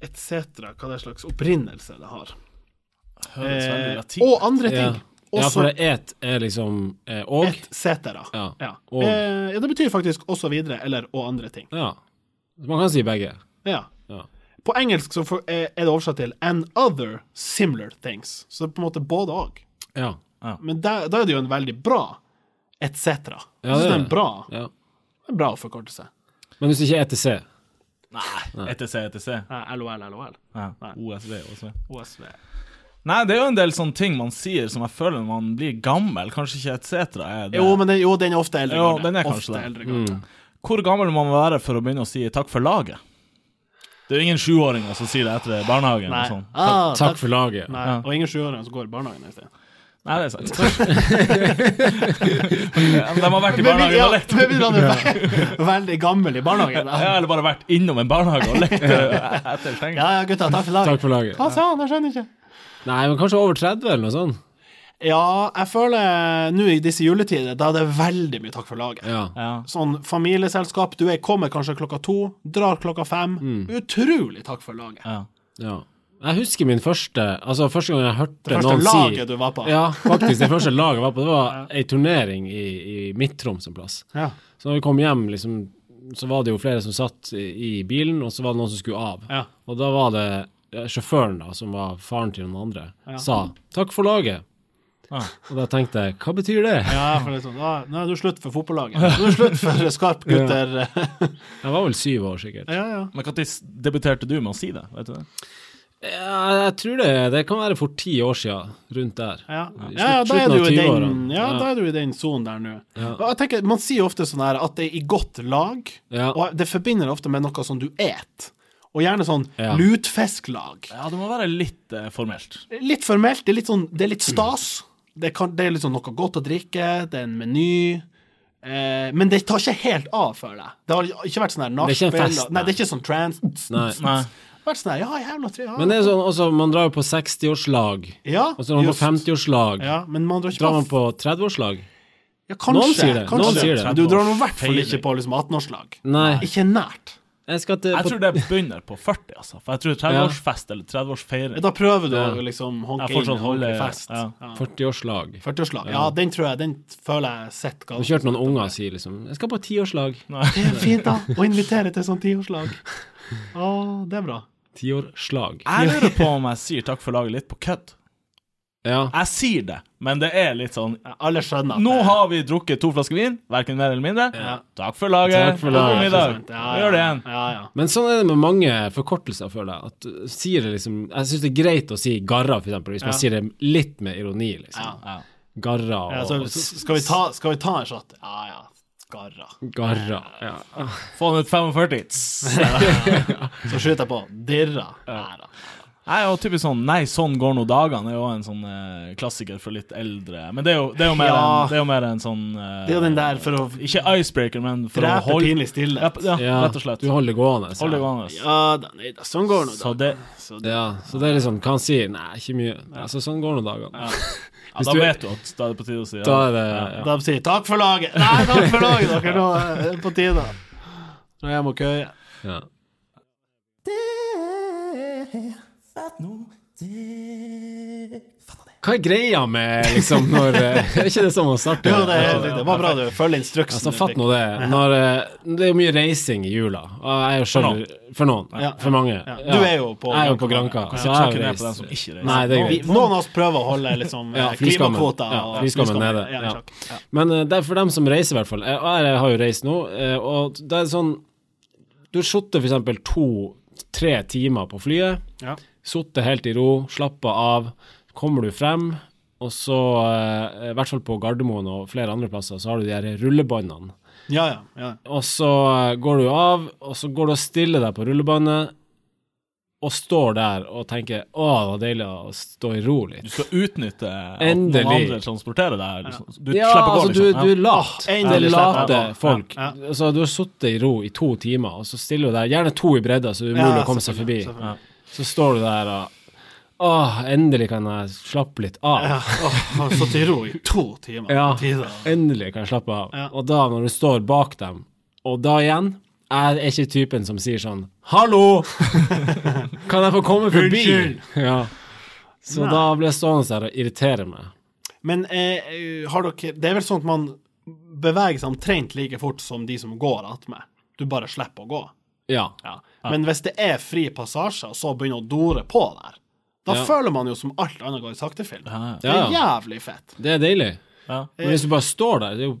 etc. hva det slags opprinnelse det har.
Høres veldig
Eh,
latin.
og andre
Ja.
ting.
ja, for
Også
det et er liksom eh, og.
etc. Ja.
Ja.
Eh,
Og.
ja, det betyr faktisk også videre eller og andre ting.
Ja. Man kan si begge.
Ja.
Ja.
På engelsk så får- er er det oversatt til 'and other similar things'. Så det er på en måte både og.
Ja.
Men da, da er det jo en veldig bra et cetera.
Ja,
så
det
det er
er
en
det.
bra,
ja.
en bra forkortelse.
Men hvis ikke ETC
Nei. ETC, ETC.
Eh, LOL, LOL.
Ja. OSV, OSV.
OSV.
Nei, det er jo en del sånne ting man sier som jeg føler når man blir gammel. Kanskje ikke et cetera er det.
Jo, men den, jo, den er ofte eldre.
Jo,
garde.
den er kanskje det.
ofte
Mm,
eldre garde.
Hvor gammel må man være for å begynne å si takk for laget? Det er jo ingen sjuåringer som sier det etter barnehagen.
Nei.
og sånn.
Ah,
Takk for laget.
Nei,
Ja.
Og ingen sjuåringer som går i barnehagen i sted.
Nei, det er sant. Ja, men De har vært i barnehagen og lekt.
Med mindre han er ve- veldig gammel i barnehagen.
Ja,
da.
eller bare vært innom en barnehage og lekt eh, etter senga.
Ja, ja, gutta, takk for
Takk
laget.
for laget.
Hva sa han? Jeg skjønner ikke.
Nei, men kanskje over 30 eller noe sånt.
Ja, jeg føler eh, nå i disse juletider, da er det veldig mye takk for laget.
Ja.
Ja.
Sånn familieselskap, du er, kommer kanskje klokka to, drar klokka fem.
Mm.
Utrolig takk for laget.
Ja.
ja. Jeg husker min første Altså, første gang jeg hørte
Det første
noen
laget
si
du var på.
Ja, faktisk. Det første laget jeg var på, det var ei turnering i, i Midt-Troms en plass.
Ja.
Så når vi kom hjem, liksom, så var det jo flere som satt i i bilen, og så var det noen som skulle av.
Ja.
Og da var det eh, sjåføren, da, som var faren til noen andre, sa 'takk for laget'.
Ah.
Og da tenkte jeg 'hva betyr det?'
Ja, for det er sånn, da, nå er du slutt for fotballaget. Nå er du slutt for skarp gutter.
Jeg var vel syv år, sikkert.
Ja, ja.
Men når debuterte du med å si det? Vet du det?
Ja, jeg tror det, det kan være for ti år siden, rundt der.
Ja,
I
ja, ja, da,
slutten
er du
av
jo i den,
20-årene.
ja,
Ja.
da er du i den sonen der nå.
Ja.
Og jeg tenker, Man sier jo ofte sånn her at det er i godt lag,
Ja.
og det forbinder ofte med noe som du et. Og gjerne sånn
Ja.
lutfisklag.
Ja, det må være litt eh, formelt.
Litt formelt, det er litt, sånn, det er litt stas. Det, kan, det er liksom noe godt å drikke, det er en meny. Eh, men det tar ikke helt av for deg. Det har ikke vært sånn her
Det er ikke en
nachspiel.
fest,
Nei, det er ikke sånn trans.
Nei.
Nei.
Vært sånn her, ja, jævla tre, ja.
Men det er sånn, også, man drar jo på 60-årslag,
ja,
og så drar man på
just.
50-årslag,
Ja, men man drar ikke
drar
på
man på 30-årslag.
Ja, kanskje.
Noen sier det,
Kanskje.
noen sier det.
Men Du drar nå i hvert fall ikke på liksom 18-årslag.
Nei,
Ikke nært.
jeg skal til
Jeg
på
tror det begynner på 40, altså. For jeg tror 30-årsfest eller 30-årsfeiring
Men Da prøver du
Ja.
å liksom
Ja,
honke
fortsatt
inn holde
holde-
fest.
ja.
Ja.
40-årslag.
40-årslag. Ja, den tror jeg Den føler jeg sitter
Nå
ganske
kjørte noen unger og sier liksom 'Jeg skal på tiårslag'.
Det er fint, da, å invitere til sånn tiårslag. Å, det er bra.
Tiårslag.
Jeg lurer på om jeg sier takk for laget litt på kødd.
Ja.
Jeg sier det, men det er litt sånn
Ja, Alle skjønner at
Nå
det-
har vi drukket to flasker vin, verken mer eller mindre. Takk for laget.
Takk for laget.
God middag.
Ikke sant? Ja,
Vi gjør det igjen.
Ja, ja.
Men sånn er det med mange forkortelser, føler jeg. At du sier det liksom Jeg syns det er greit å si 'garra', for eksempel, hvis
Ja.
man sier det litt med ironi,
Ja.
liksom. Garra og
ja så, s- skal, vi ta, skal vi ta en shot? Ja, ja. Garra.
Garra. Ja.
Få den ut 45. Tss.
Så skyter jeg på. Dirra. Ja, da.
Nei, og typisk sånn Nei, sånn går nå dagene er jo en sånn eh, klassiker for litt eldre. Men det er jo, det er jo, mer,
Ja.
en, det er jo mer en sånn eh,
Det er jo den der for å
Ikke icebreaker, men for å
drepe
holde
pinlig stille.
ja, ja,
ja.
rett og slett.
Du holder det gående. så-
Hold det gående.
Ja da, nei da, sånn går nå da.
Så det
Så det,
Ja, så det er liksom Hva han sier? Nei, ikke mye. Altså, sånn går nå dagene.
Ja, da
du-
vet du at da er det på tide å si ja.
Da er det ja.
Da sier jeg, takk for laget! Nei, takk for laget, dere! Nå er det på tide. Nå er jeg må køye.
Ja. Hva er greia med liksom når eh, Er ikke det sånn man starter?
Jo, det er helt riktig. Det var bra du følger instruksen.
Altså,
du
fatt
fikk.
nå det. Når, eh, det er jo mye reising i jula. Og jeg er jo selv,
For
for noen.
Ja.
For mange.
Ja.
Ja.
Du er jo på
Jeg er jo på
Granca.
Granca.
Kanskje
Så jeg har
tråkke
jo
ned på dem
reist.
som ikke reiser.
Nei, det er
Vi,
greit.
noen av oss prøver å holde liksom,
Ja,
eh,
flyskammen.
klimakvoter
Ja,
og
flyskammen
flyskammen.
nede.
Ja,
Ja.
takk. Ja.
Men eh, det er for dem som reiser, i hvert fall. Eh, Og jeg har jo reist nå, eh, og det er sånn Du har sittet f.eks. to-tre timer på flyet.
Ja.
Sittet helt i ro, slappa av. Kommer du frem, og så, eh, i hvert fall på Gardermoen og flere andre plasser, så har du de her rullebåndene.
Ja, ja, ja.
Og så eh, går du av, og så går du og stiller deg på rullebåndet, og står der og tenker 'Å, det var deilig å stå i ro litt'.
Du skal utnytte at
Endelig.
noen andre transporterer deg. Liksom. Du
Ja,
slipper å gå,
altså, du,
liksom.
du er lat.
Ja.
det er
Endelig slipper
late
jeg å gå.
folk.
Ja,
Altså, du har sittet i ro i to timer, og så stiller du der, gjerne to i bredda, så det er umulig
Ja,
å komme seg forbi.
selvfølgelig, selvfølgelig.
Så står du der og Åh, endelig kan jeg slappe litt av.
Ja. Åh, jeg har stått i ro i to timer.
Ja,
på tide.
endelig kan jeg slappe av.
Ja.
Og da, når du står bak dem, og da igjen Jeg er ikke typen som sier sånn Hallo! kan jeg få komme forbi?
Unnskyld.
Ja. Så da blir jeg stående der og irritere meg.
Men eh, har dere Det er vel sånn at man beveger seg omtrent like fort som de som går attmed. Du bare slipper å gå.
Ja.
Ja. Men hvis det er fri passasje, og så begynner å dore på der, da
Ja.
føler man jo som alt annet går i sakte film.
Ja,
Det er
Ja, ja.
jævlig fett.
Det er deilig.
ja.
Men hvis du bare står der, det er jo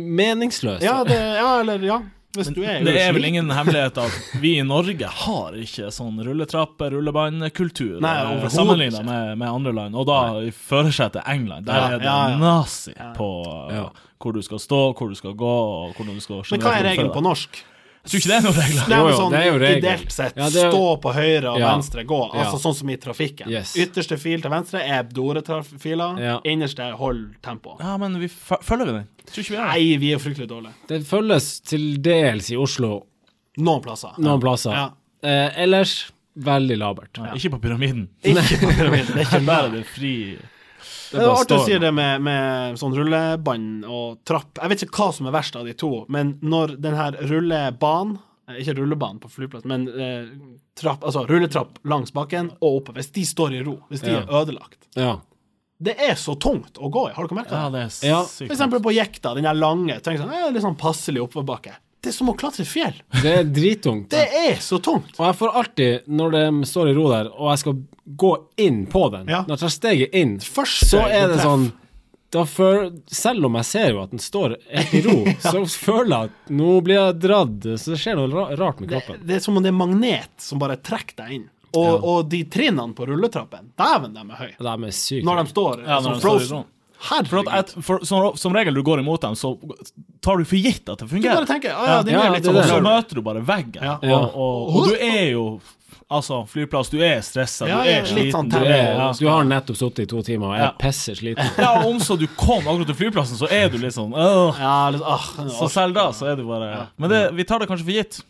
meningsløst.
Ja, det, ja eller ja. Hvis du er
Det er vel ingen hemmelighet at vi i Norge har ikke sånn rulletrappe, rullebandkultur
Nei,
eh,
overhodet
sammenlignet
ikke.
med, med andre land. Og da i førersetet England. Der
Ja,
er det
ja, ja.
nazi på eh,
Ja.
hvor du skal stå, hvor du skal gå, og hvordan du skal
Men hva er regelen på norsk?
Jeg tror ikke det er noen regler.
Nei,
Jo,
men
jo,
sånn,
det er jo regel.
Ideelt sett,
Ja, det er-
stå på høyre og
Ja.
venstre, gå. Altså
Ja.
sånn som i trafikken.
Yes.
Ytterste fil til venstre er dorefiler.
Ja.
Innerste er hold tempo.
Ja, men vi f følger vi den? Tror ikke vi gjør det.
Nei, vi er fryktelig dårlige.
Det følges til dels i Oslo
Noen plasser.
noen plasser.
Ja.
Eh, ellers veldig labert.
Nei, Ikke på pyramiden.
Ikke på pyramiden. Det er
Der
ikke bare
er det fri
Det er
bare
artig å
står
si
nå.
det med, med sånn rullebånd og trapp. Jeg vet ikke hva som er verst av de to, men når den her rullebanen eh, ikke rullebanen på flyplass, men eh, trapp, altså rulletrapp langs bakken og oppe. Hvis de står i ro, hvis de
Ja.
er ødelagt
Ja.
Det er så tungt å gå i, har dere merket
Ja,
det?
det er
Ja,
sykt.
For eksempel på jekta, den der lange. Tenk sånn, eh, litt sånn passelig oppoverbakke. Det er som å klatre i fjell.
Det er drittungt.
Det er så tungt.
Og jeg får alltid, når de står i ro der, og jeg skal gå inn på den,
Ja.
når jeg tar steget inn,
Første
så er det
treff.
sånn da føl- Selv om jeg ser jo at den står helt i ro, så føler jeg at nå blir jeg dratt, så det skjer noe ra- rart med
Det,
kroppen.
det er som om det er magnet som bare trekker deg inn. Og, og de trinnene på rulletrappen, dæven, de er høye.
Det er sykt.
Når de står
Ja, når
som
de står i
frozen.
sånn. For, at,
Herregud.
et- for, som, som regel du går imot dem, så tar du for gitt at det
Du
fungerer.
bare tenker ah, ja, den
Ja,
er litt
det
sånn
er
Og så
det.
blurry.
møter du bare veggen.
Ja.
Og, og, og du er jo Altså, flyplass, du er stressa,
Ja,
du
ja,
er
litt
sliten.
sånn
du
Du,
er,
er,
ja.
du har nettopp sittet i to timer og jeg
Ja.
er pisser sliten.
ja, og om så du kom akkurat til flyplassen, så er du litt sånn «Åh».
Ja, litt, ah, den er
Så
awesome.
selv da, så er du bare Men det, vi tar det kanskje for gitt.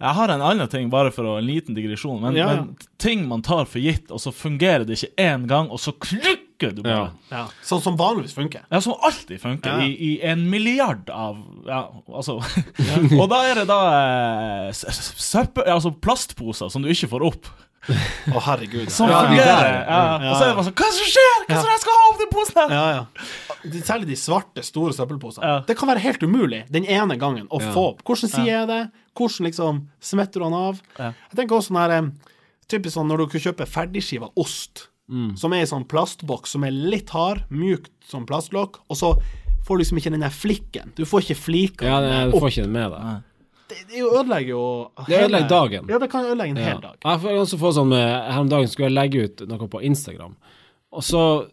Jeg har en annen ting, bare for å, en liten digresjon. Men,
Ja, ja.
men ting man tar for gitt, og så fungerer det ikke én gang, og så klikker du
Ja.
bare.
ja. Sånn som vanligvis funker.
Ja, som alltid funker
Ja, ja.
I, i en milliard av Ja, altså Og da er det da eh, s- s- søppel... Altså plastposer som du ikke får opp.
Å, herregud.
Som
ja,
fungerer.
ja,
Ja, Og så er det bare sånn Hva som skjer?! Hva som jeg skal ha opp den posen?! her?!
ja, ja. De- Særlig de svarte, store søppelposene.
Ja.
Det kan være helt umulig den ene gangen å få opp. Hvordan sier jeg det? Hvordan liksom smetter du han av?
Ja.
Jeg tenker også sånn her em, Typisk sånn når du kan kjøpe ferdigskiva ost, som er i sånn plastboks som er litt hard, mjukt som plastlokk, og så får du liksom ikke den der flikken. Du får ikke flika
Ja, det,
opp.
du får ikke det med deg.
Det, det ødelegger jo
Det
hele-
ødelegger dagen.
Ja, det kan ødelegge en
Ja.
hel dag.
Jeg får også få sånn eh, Her om dagen skulle jeg legge ut noe på Instagram, og så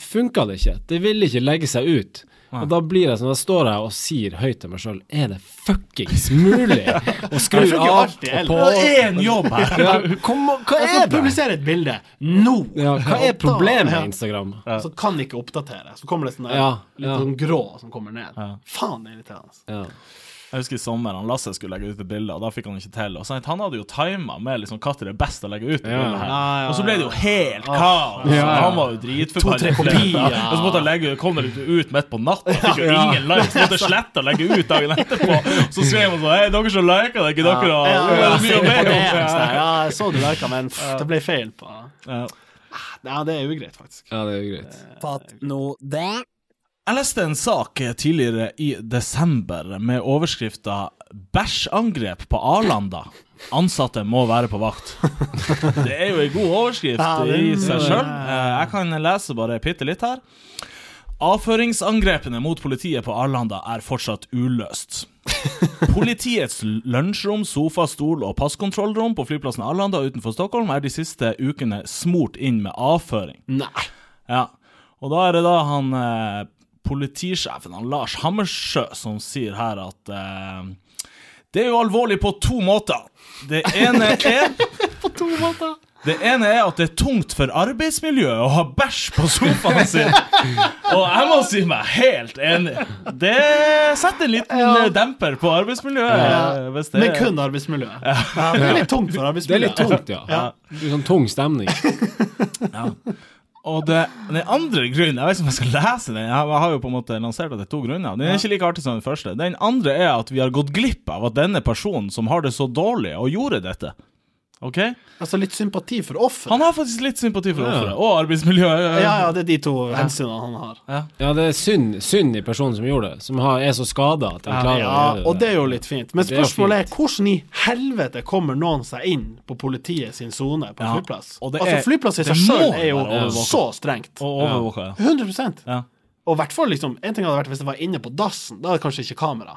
funka det ikke. Det ville ikke legge seg ut. Og da blir jeg sånn, da står jeg og sier høyt til meg sjøl Er det fuckings mulig å skru
Det funker jo
av og
alltid, eller?
på?
Det er en jobb her!
Ja, kom, hva
Jeg
er
skal
det?
publisere et bilde nå!
Ja, hva er problemet
Ja.
med Instagram?
Så kan det ikke oppdatere. Så kommer det sånn der,
Ja,
litt
ja.
sånn grå som kommer ned. Faen, det er irriterende.
Ja.
Jeg husker i sommer han Lasse skulle legge ut et bilde, og da fikk han ikke til. Og så, han hadde jo tima med liksom, når det er best å legge ut. det
Ja.
bildet her.
Ja, ja,
Og så ble det jo helt kaos.
Ja.
Han var jo dritforbanna.
To-tre kopier.
Og så måtte han legge, kom det litt ut midt på natta. Fikk jo
Ja.
ingen likes. Måtte slette og legge ut dagen etterpå. Så skrev han sånn Hei, dere som liker det, er ikke dere
Ja,
da?»
ja, jeg
Det
ser
er
det
mye å
på
be
det,
om.
Øystein. Ja, jeg så du lika, men pff, det ble feil på
Ja.
Ja, det er ugreit, faktisk.
ja, det er jo greit.
Fatt nå det.
Jeg leste en sak tidligere i desember med overskrifta 'Bæsjangrep på Arlanda'. Ansatte må være på vakt. Det er jo ei god overskrift
Ja, det-
i seg sjøl. Jeg kan lese bare bitte litt her. Avføringsangrepene mot politiet på Arlanda er fortsatt uløst. Politiets lunsjrom, sofa, stol og passkontrollrom på flyplassen Arlanda utenfor Stockholm er de siste ukene smurt inn med avføring.
Nei.
Ja, og da er det da han eh, politisjefen, han Lars Hammersjø, som sier her at eh, det er jo alvorlig på to måter. Det ene er
På to måter.
det ene er at det er tungt for arbeidsmiljøet å ha bæsj på sofaen sin. Og jeg må si meg helt enig. Det setter en liten eh, demper på arbeidsmiljøet. eh, Hvis det
Men
er-
kun arbeidsmiljøet. Ja, det er litt tungt for
Det er
arbeidsmiljøet.
litt tungt, ja. Det er sånn tung stemning.
Og det, den andre grunnen Jeg vet ikke om jeg skal lese den. Jeg har- Jeg har jo på en måte lansert at det er to grunner. Den er ikke like artig som den første. Den andre er at vi har gått glipp av at denne personen som har det så dårlig, og gjorde dette, OK?
Altså litt sympati for offeret.
Han har faktisk litt sympati for
Ja.
offeret og arbeidsmiljøet.
Ja, ja, det er de to hensynene han har.
Ja, det er synd, synd i personen som gjorde det, som har, er så skada at han klarer å
Ja,
gjøre
og det er jo litt fint. Men
Det er jo
spørsmålet er hvordan i helvete kommer noen seg inn på politiet sin sone på en
Ja,
flyplass?
og det
altså,
er-
flyplass i
det
seg
må
sjøl er jo
være overvåket.
så strengt.
Og overvåka, ja.
100
ja.
Og i hvert fall liksom, En ting hadde vært hvis det var inne på dassen, da er det kanskje ikke kamera.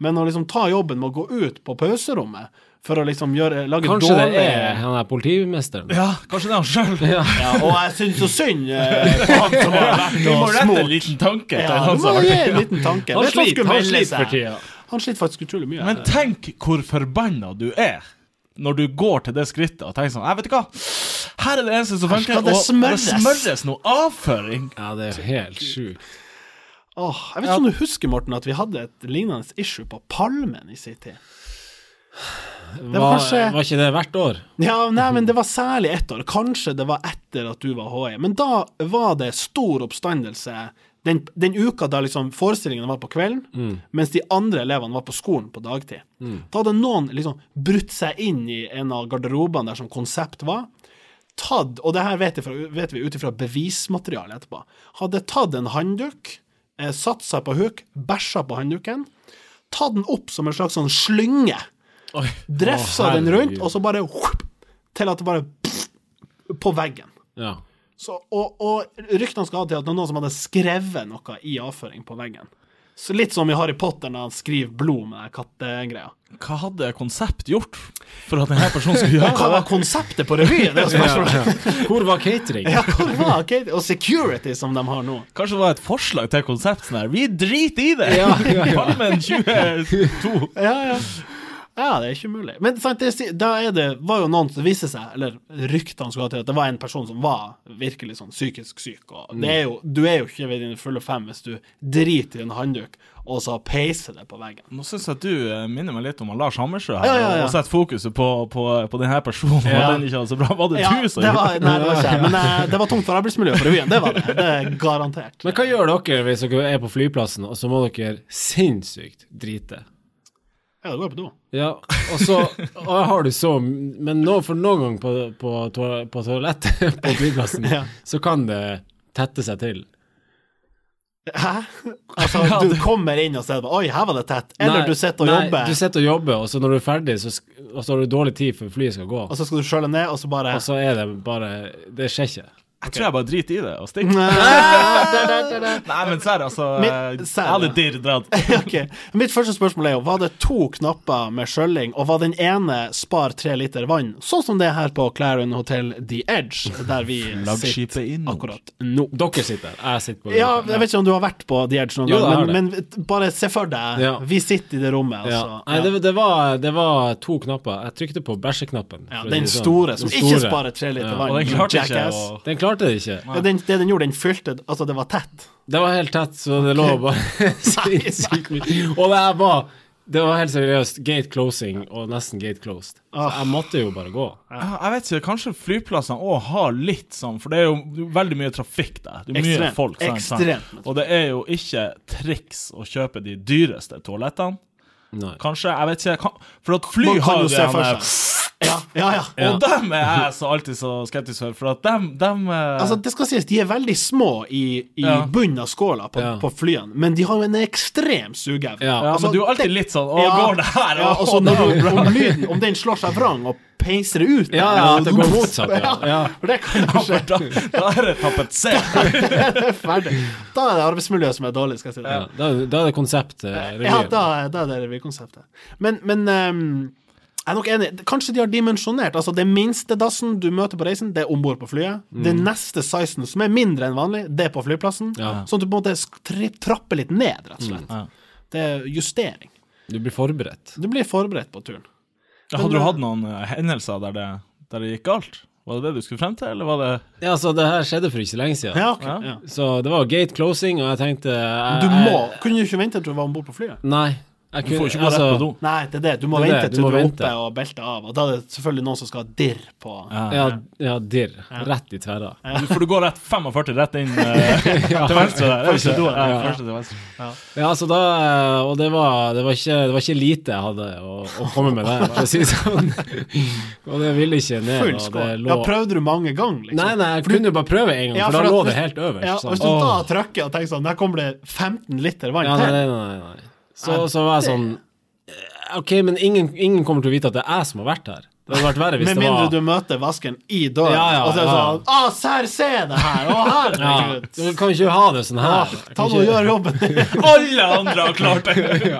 Men å liksom ta jobben med å gå ut på pauserommet for å liksom gjøre, lage
Kanskje det
dårlige
er han der politimesteren.
ja, kanskje det er han sjøl.
ja, Og jeg syns så synd eh, på han som har vært
Vi må
og
rette
smurt.
en liten tanke til
Ja,
han
du
som
må
har
gi
vært
en liten tanke.
Han
Vet du hva
sliter,
skulle
han
melde
sliter
seg?
for tida.
Han sliter faktisk utrolig mye.
Men tenk hvor forbanna du er når du går til det skrittet og tenker sånn Jeg vet ikke hva, her er det eneste som
Her
funker,
skal
og
det
det
smøres."
smøres noe avføring.
Ja, det er jo helt sjukt.
Åh, jeg vet ikke om du husker, Morten, at vi hadde et lignende issue på Palmen i sin tid.
Var,
kanskje-
var ikke det hvert år?
Ja, nei, men det var særlig ett år. Kanskje det var etter at du var HI. Men da var det stor oppstandelse den, den uka da liksom forestillingene var på kvelden, mens de andre elevene var på skolen på dagtid. Da hadde noen liksom brutt seg inn i en av garderobene der som konsept var. Tatt, og det her vet, jeg fra, vet vi ut ifra bevismaterialet etterpå, hadde tatt en handduk, eh, satt seg på huk, bæsja på handduken, tatt den opp som en slags sånn slynge.
Oi.
Drefsa
Å,
den rundt,
herregud.
og så bare whoop, Til at det bare pff, På veggen.
Ja.
Så, og, og ryktene skal ha til at det er noen som hadde skrevet noe i avføring på veggen. Så Litt som i Harry Potter når han skriver blod med den kattegreia.
Hva hadde konsept gjort for at denne personen skulle
Hva
gjøre det?
var konseptet på revyen? Det er jo spørsmålet.
Hvor var catering?
Ja, hvor var ok, Og security som de har nå.
Kanskje det var et forslag til konsept sånn her Vi driter i det!
Ja, ja, ja.
Palmen 22.
Ja, ja. Ja, det er ikke mulig. Men sant, det, da er det, var jo noen som viste seg, eller ryktene skulle ha til, at det var en person som var virkelig sånn psykisk syk. Og det er jo, du er jo ikke ved dine fulle fem hvis du driter i en handduk og så peiser det på veggen.
Nå syns jeg at du eh, minner meg litt om han Lars Hammersjø her,
Ja, ja, ja.
og setter fokuset på, på, på denne personen. Og
Ja.
at den ikke hadde så bra. Var det
Ja,
du
det
som gjorde
var, nei, det var ikke jeg, men eh, det var tungt for arbeidsmiljøet for revyen. Det var det. Det er garantert.
Men hva gjør dere hvis dere er på flyplassen, og så må dere sinnssykt drite?
Ja, det går på do.
Ja, og så og har du så Men nå, for noen gang på, på, toa- på toalettet på flyplassen,
Ja.
så kan det tette seg til.
Hæ? Altså, du kommer inn og ser Oi, her var det tett. Eller
Nei,
du sitter og
nei,
jobber,
Du sitter og jobber, og så når du er ferdig, så, sk- og så har du dårlig tid før flyet skal gå,
og så skal du skjøle ned, og så bare
og så er det bare Det skjer ikke.
Jeg tror jeg bare driter i det og stikker.
Nei.
Nei, men serr, altså.
Men,
eh,
serr,
Jeg hadde
ja.
dirr dratt.
Ok, Mitt første spørsmål er jo Var det to knapper med skjølling, og var den ene spar tre liter vann, sånn som det er her på Clarion Hotel The Edge, der vi sitter
Flaggskipet inn.
akkurat nå?
Dere sitter der, jeg sitter på
Ja, jeg vet ikke om du har vært på The Edge noen
Jo, jeg har
gang, men, men bare se for deg
Ja.
Vi sitter i det rommet,
Ja.
altså.
Nei, det, det, var, det var to knapper. Jeg trykte på bæsjeknappen.
Ja,
for å si
den
det sånn.
store som
Den
ikke
store.
sparer tre liter
Ja.
vann.
Og den klarte ikke
jackass.
å
Den klarte det ikke.
Ja, den, det den gjorde, den fylte Altså, det var tett.
Det var helt tett, så det lå bare sinnssykt mye. Og det her var Det var helt seriøst gate closing og nesten gate closed. Så
Ah.
jeg måtte jo bare gå.
Ja, Ah, Jeg vet ikke, kanskje flyplassene òg har litt sånn, for det er jo veldig mye trafikk der. Det er mye
Ekstremt.
folk. Sant,
Ekstremt.
Sant? Og det er jo ikke triks å kjøpe de dyreste toalettene.
Nei.
Kanskje, jeg vet ikke kan, For at fly
Man kan
har
jo
jo
se
det
for
her-
seg. Ja, ja, ja.
Og dem er jeg så alltid så skeptisk for, for at dem, dem eh,
Altså, det skal sies, de er veldig små i, i
Ja.
bunnen av skåla på,
Ja.
på flyene, men de har jo en ekstrem sugeevne.
Ja.
Ja,
altså,
men du er alltid
det-
litt sånn Å, går det her?
Ja, altså,
Å,
og
å,
så når
da-
du, om lyden, om den slår seg vrang og peiser det ut
Ja, ja, at det går motsatt. Ja. Ja.
For det kan jo skje.
da, da er det tapetsert.
Det er ferdig. Da er det arbeidsmiljøet som er dårlig, skal jeg si
Ja,
deg.
da, da er det konseptet revyen.
Ja, da, da er det revykonseptet. Men, men ehm, jeg er nok enig. Kanskje de har dimensjonert. Altså, det minste dassen du møter på reisen, det er om bord på flyet.
Mm.
Den neste sizen, som er mindre enn vanlig, det er på flyplassen.
Ja. Mm.
Sånn at du på en måte sk- tri- trapper litt ned, rett og slett.
Ja.
Det er justering.
Du blir forberedt.
Du blir forberedt på turen.
Hadde du hatt noen eh, hendelser der det, der det gikk galt? Var det det du skulle frem til, eller var det
Ja, så det her skjedde for ikke så lenge siden.
Ja, ok.
Ja.
Ja.
Så det var gate closing, og jeg tenkte jeg,
Du
jeg-
må Kunne du ikke vente til du var om bord på flyet?
Nei. Jeg
Du får jo ikke gå
altså,
rett på do.
Nei, det er det. Du må
Det er
vente
det, du
til
må
du er
vente.
oppe og beltet av. Og da er det selvfølgelig noen som skal ha dirr på.
Ja, ja dirr. Rett i tverra.
Du- For du går rett 45 rett inn eh, til venstre der. er det
Første
ikke?
doen,
Ja,
ja.
første til venstre.
Ja, altså da eh, Og det var, det var, ikke, det var ikke lite jeg hadde å, å komme med der, for å si det sånn. Og det ville ikke ned.
Full
og det
skål.
lå
Ja, prøvde du mange ganger, liksom?
Nei, nei, jeg kunne jo bare prøve en gang,
Ja,
for,
for at
da lå
hvis-
det helt øverst.
Ja, og
sant?
hvis du da trykker og tenker sånn, der kommer det 15 liter vann
Ja, nei,
til.
nei, nei, nei. Så, så var jeg sånn eh, OK, men ingen, ingen kommer til å vite at det er jeg som har vært her. Det hadde vært verre hvis
Med
det
mindre
var
du møter vasken i døra,
Ja, ja,
og så er det
ja, ja.
sånn Å, sær, se det her! Å,
ja,
herregud!
Du kan ikke ha det sånn
Åh,
her.
Ta nå og gjør jobben din!
Alle andre har klart det!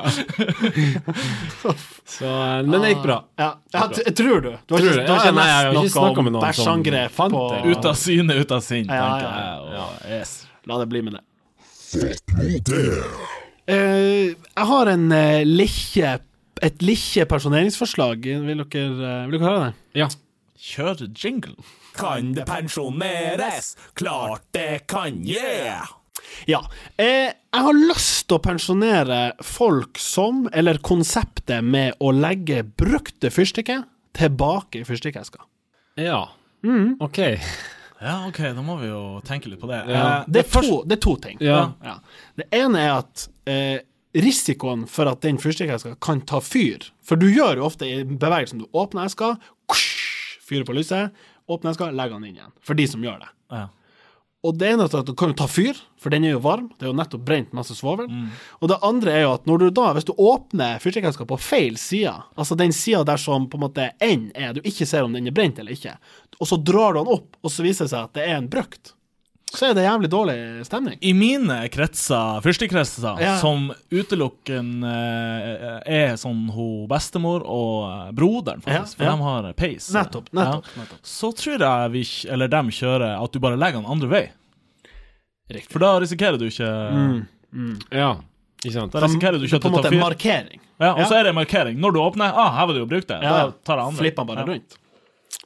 Så, eh, men det gikk bra.
Ja, ja, t- tror du? Du har
Tror
ikke,
det.
du har
Ja,
ikke
nei, jeg har ikke
lest
snakket
noe
med
om
noen som
bæsjangrep
fant
på
det.
Ut av syne, ut av sinn,
Ja,
tenker
ja,
jeg. Og, eh, yes.
La det bli med det. Eh, jeg har en eh, lille et lille pensjoneringsforslag. Vil dere, eh, vil dere høre det?
Ja.
Kjør jingle.
Kan det pensjoneres? Klart det kan, yeah!
Ja. Eh, jeg har lyst til å pensjonere folk som, eller konseptet med å legge brukte fyrstikker tilbake i fyrstikkeska.
Ja.
Mm.
OK.
Ja, OK, da må vi jo tenke litt på det.
Ja.
Eh,
Det, er to- det er to ting.
Ja.
Ja. Det ene er at eh, risikoen for at den fyrstikkeska kan ta fyr For du gjør jo ofte i bevegelsen du åpner eska, kush, fyrer på lyset, åpner eska, legger den inn igjen. For de som gjør det.
Ja.
Og det ene er at du kan jo ta fyr, for den er jo varm. Det er jo nettopp brent masse svovel.
Mm.
Og det andre er jo at når du da, hvis du åpner fyrstikkeska på feil side, altså den sida der som på en måte enden er, du ikke ser om den er brent eller ikke, og så drar du den opp, og så viser det seg at det er en brukt, så er det jævlig dårlig stemning.
I mine kretser, fyrstekretser,
Ja.
som utelukkende eh, er sånn hun bestemor og eh, broderen, faktisk,
Ja, ja.
for de har eh, peis.
Nettopp, nettopp, nettopp.
Så tror jeg vi, kj- eller dem kjører at du bare legger den andre vei.
Riktig.
For da risikerer du ikke
Mm.
Ja. Ikke sant.
Da risikerer du ikke at
på en
du
måte
tar
en
fyr.
markering.
Ja, og så er det en markering. Når du åpner, ah, her var det jo brukt det. Da tar jeg andre.
Flipper bare
Ja.
rundt.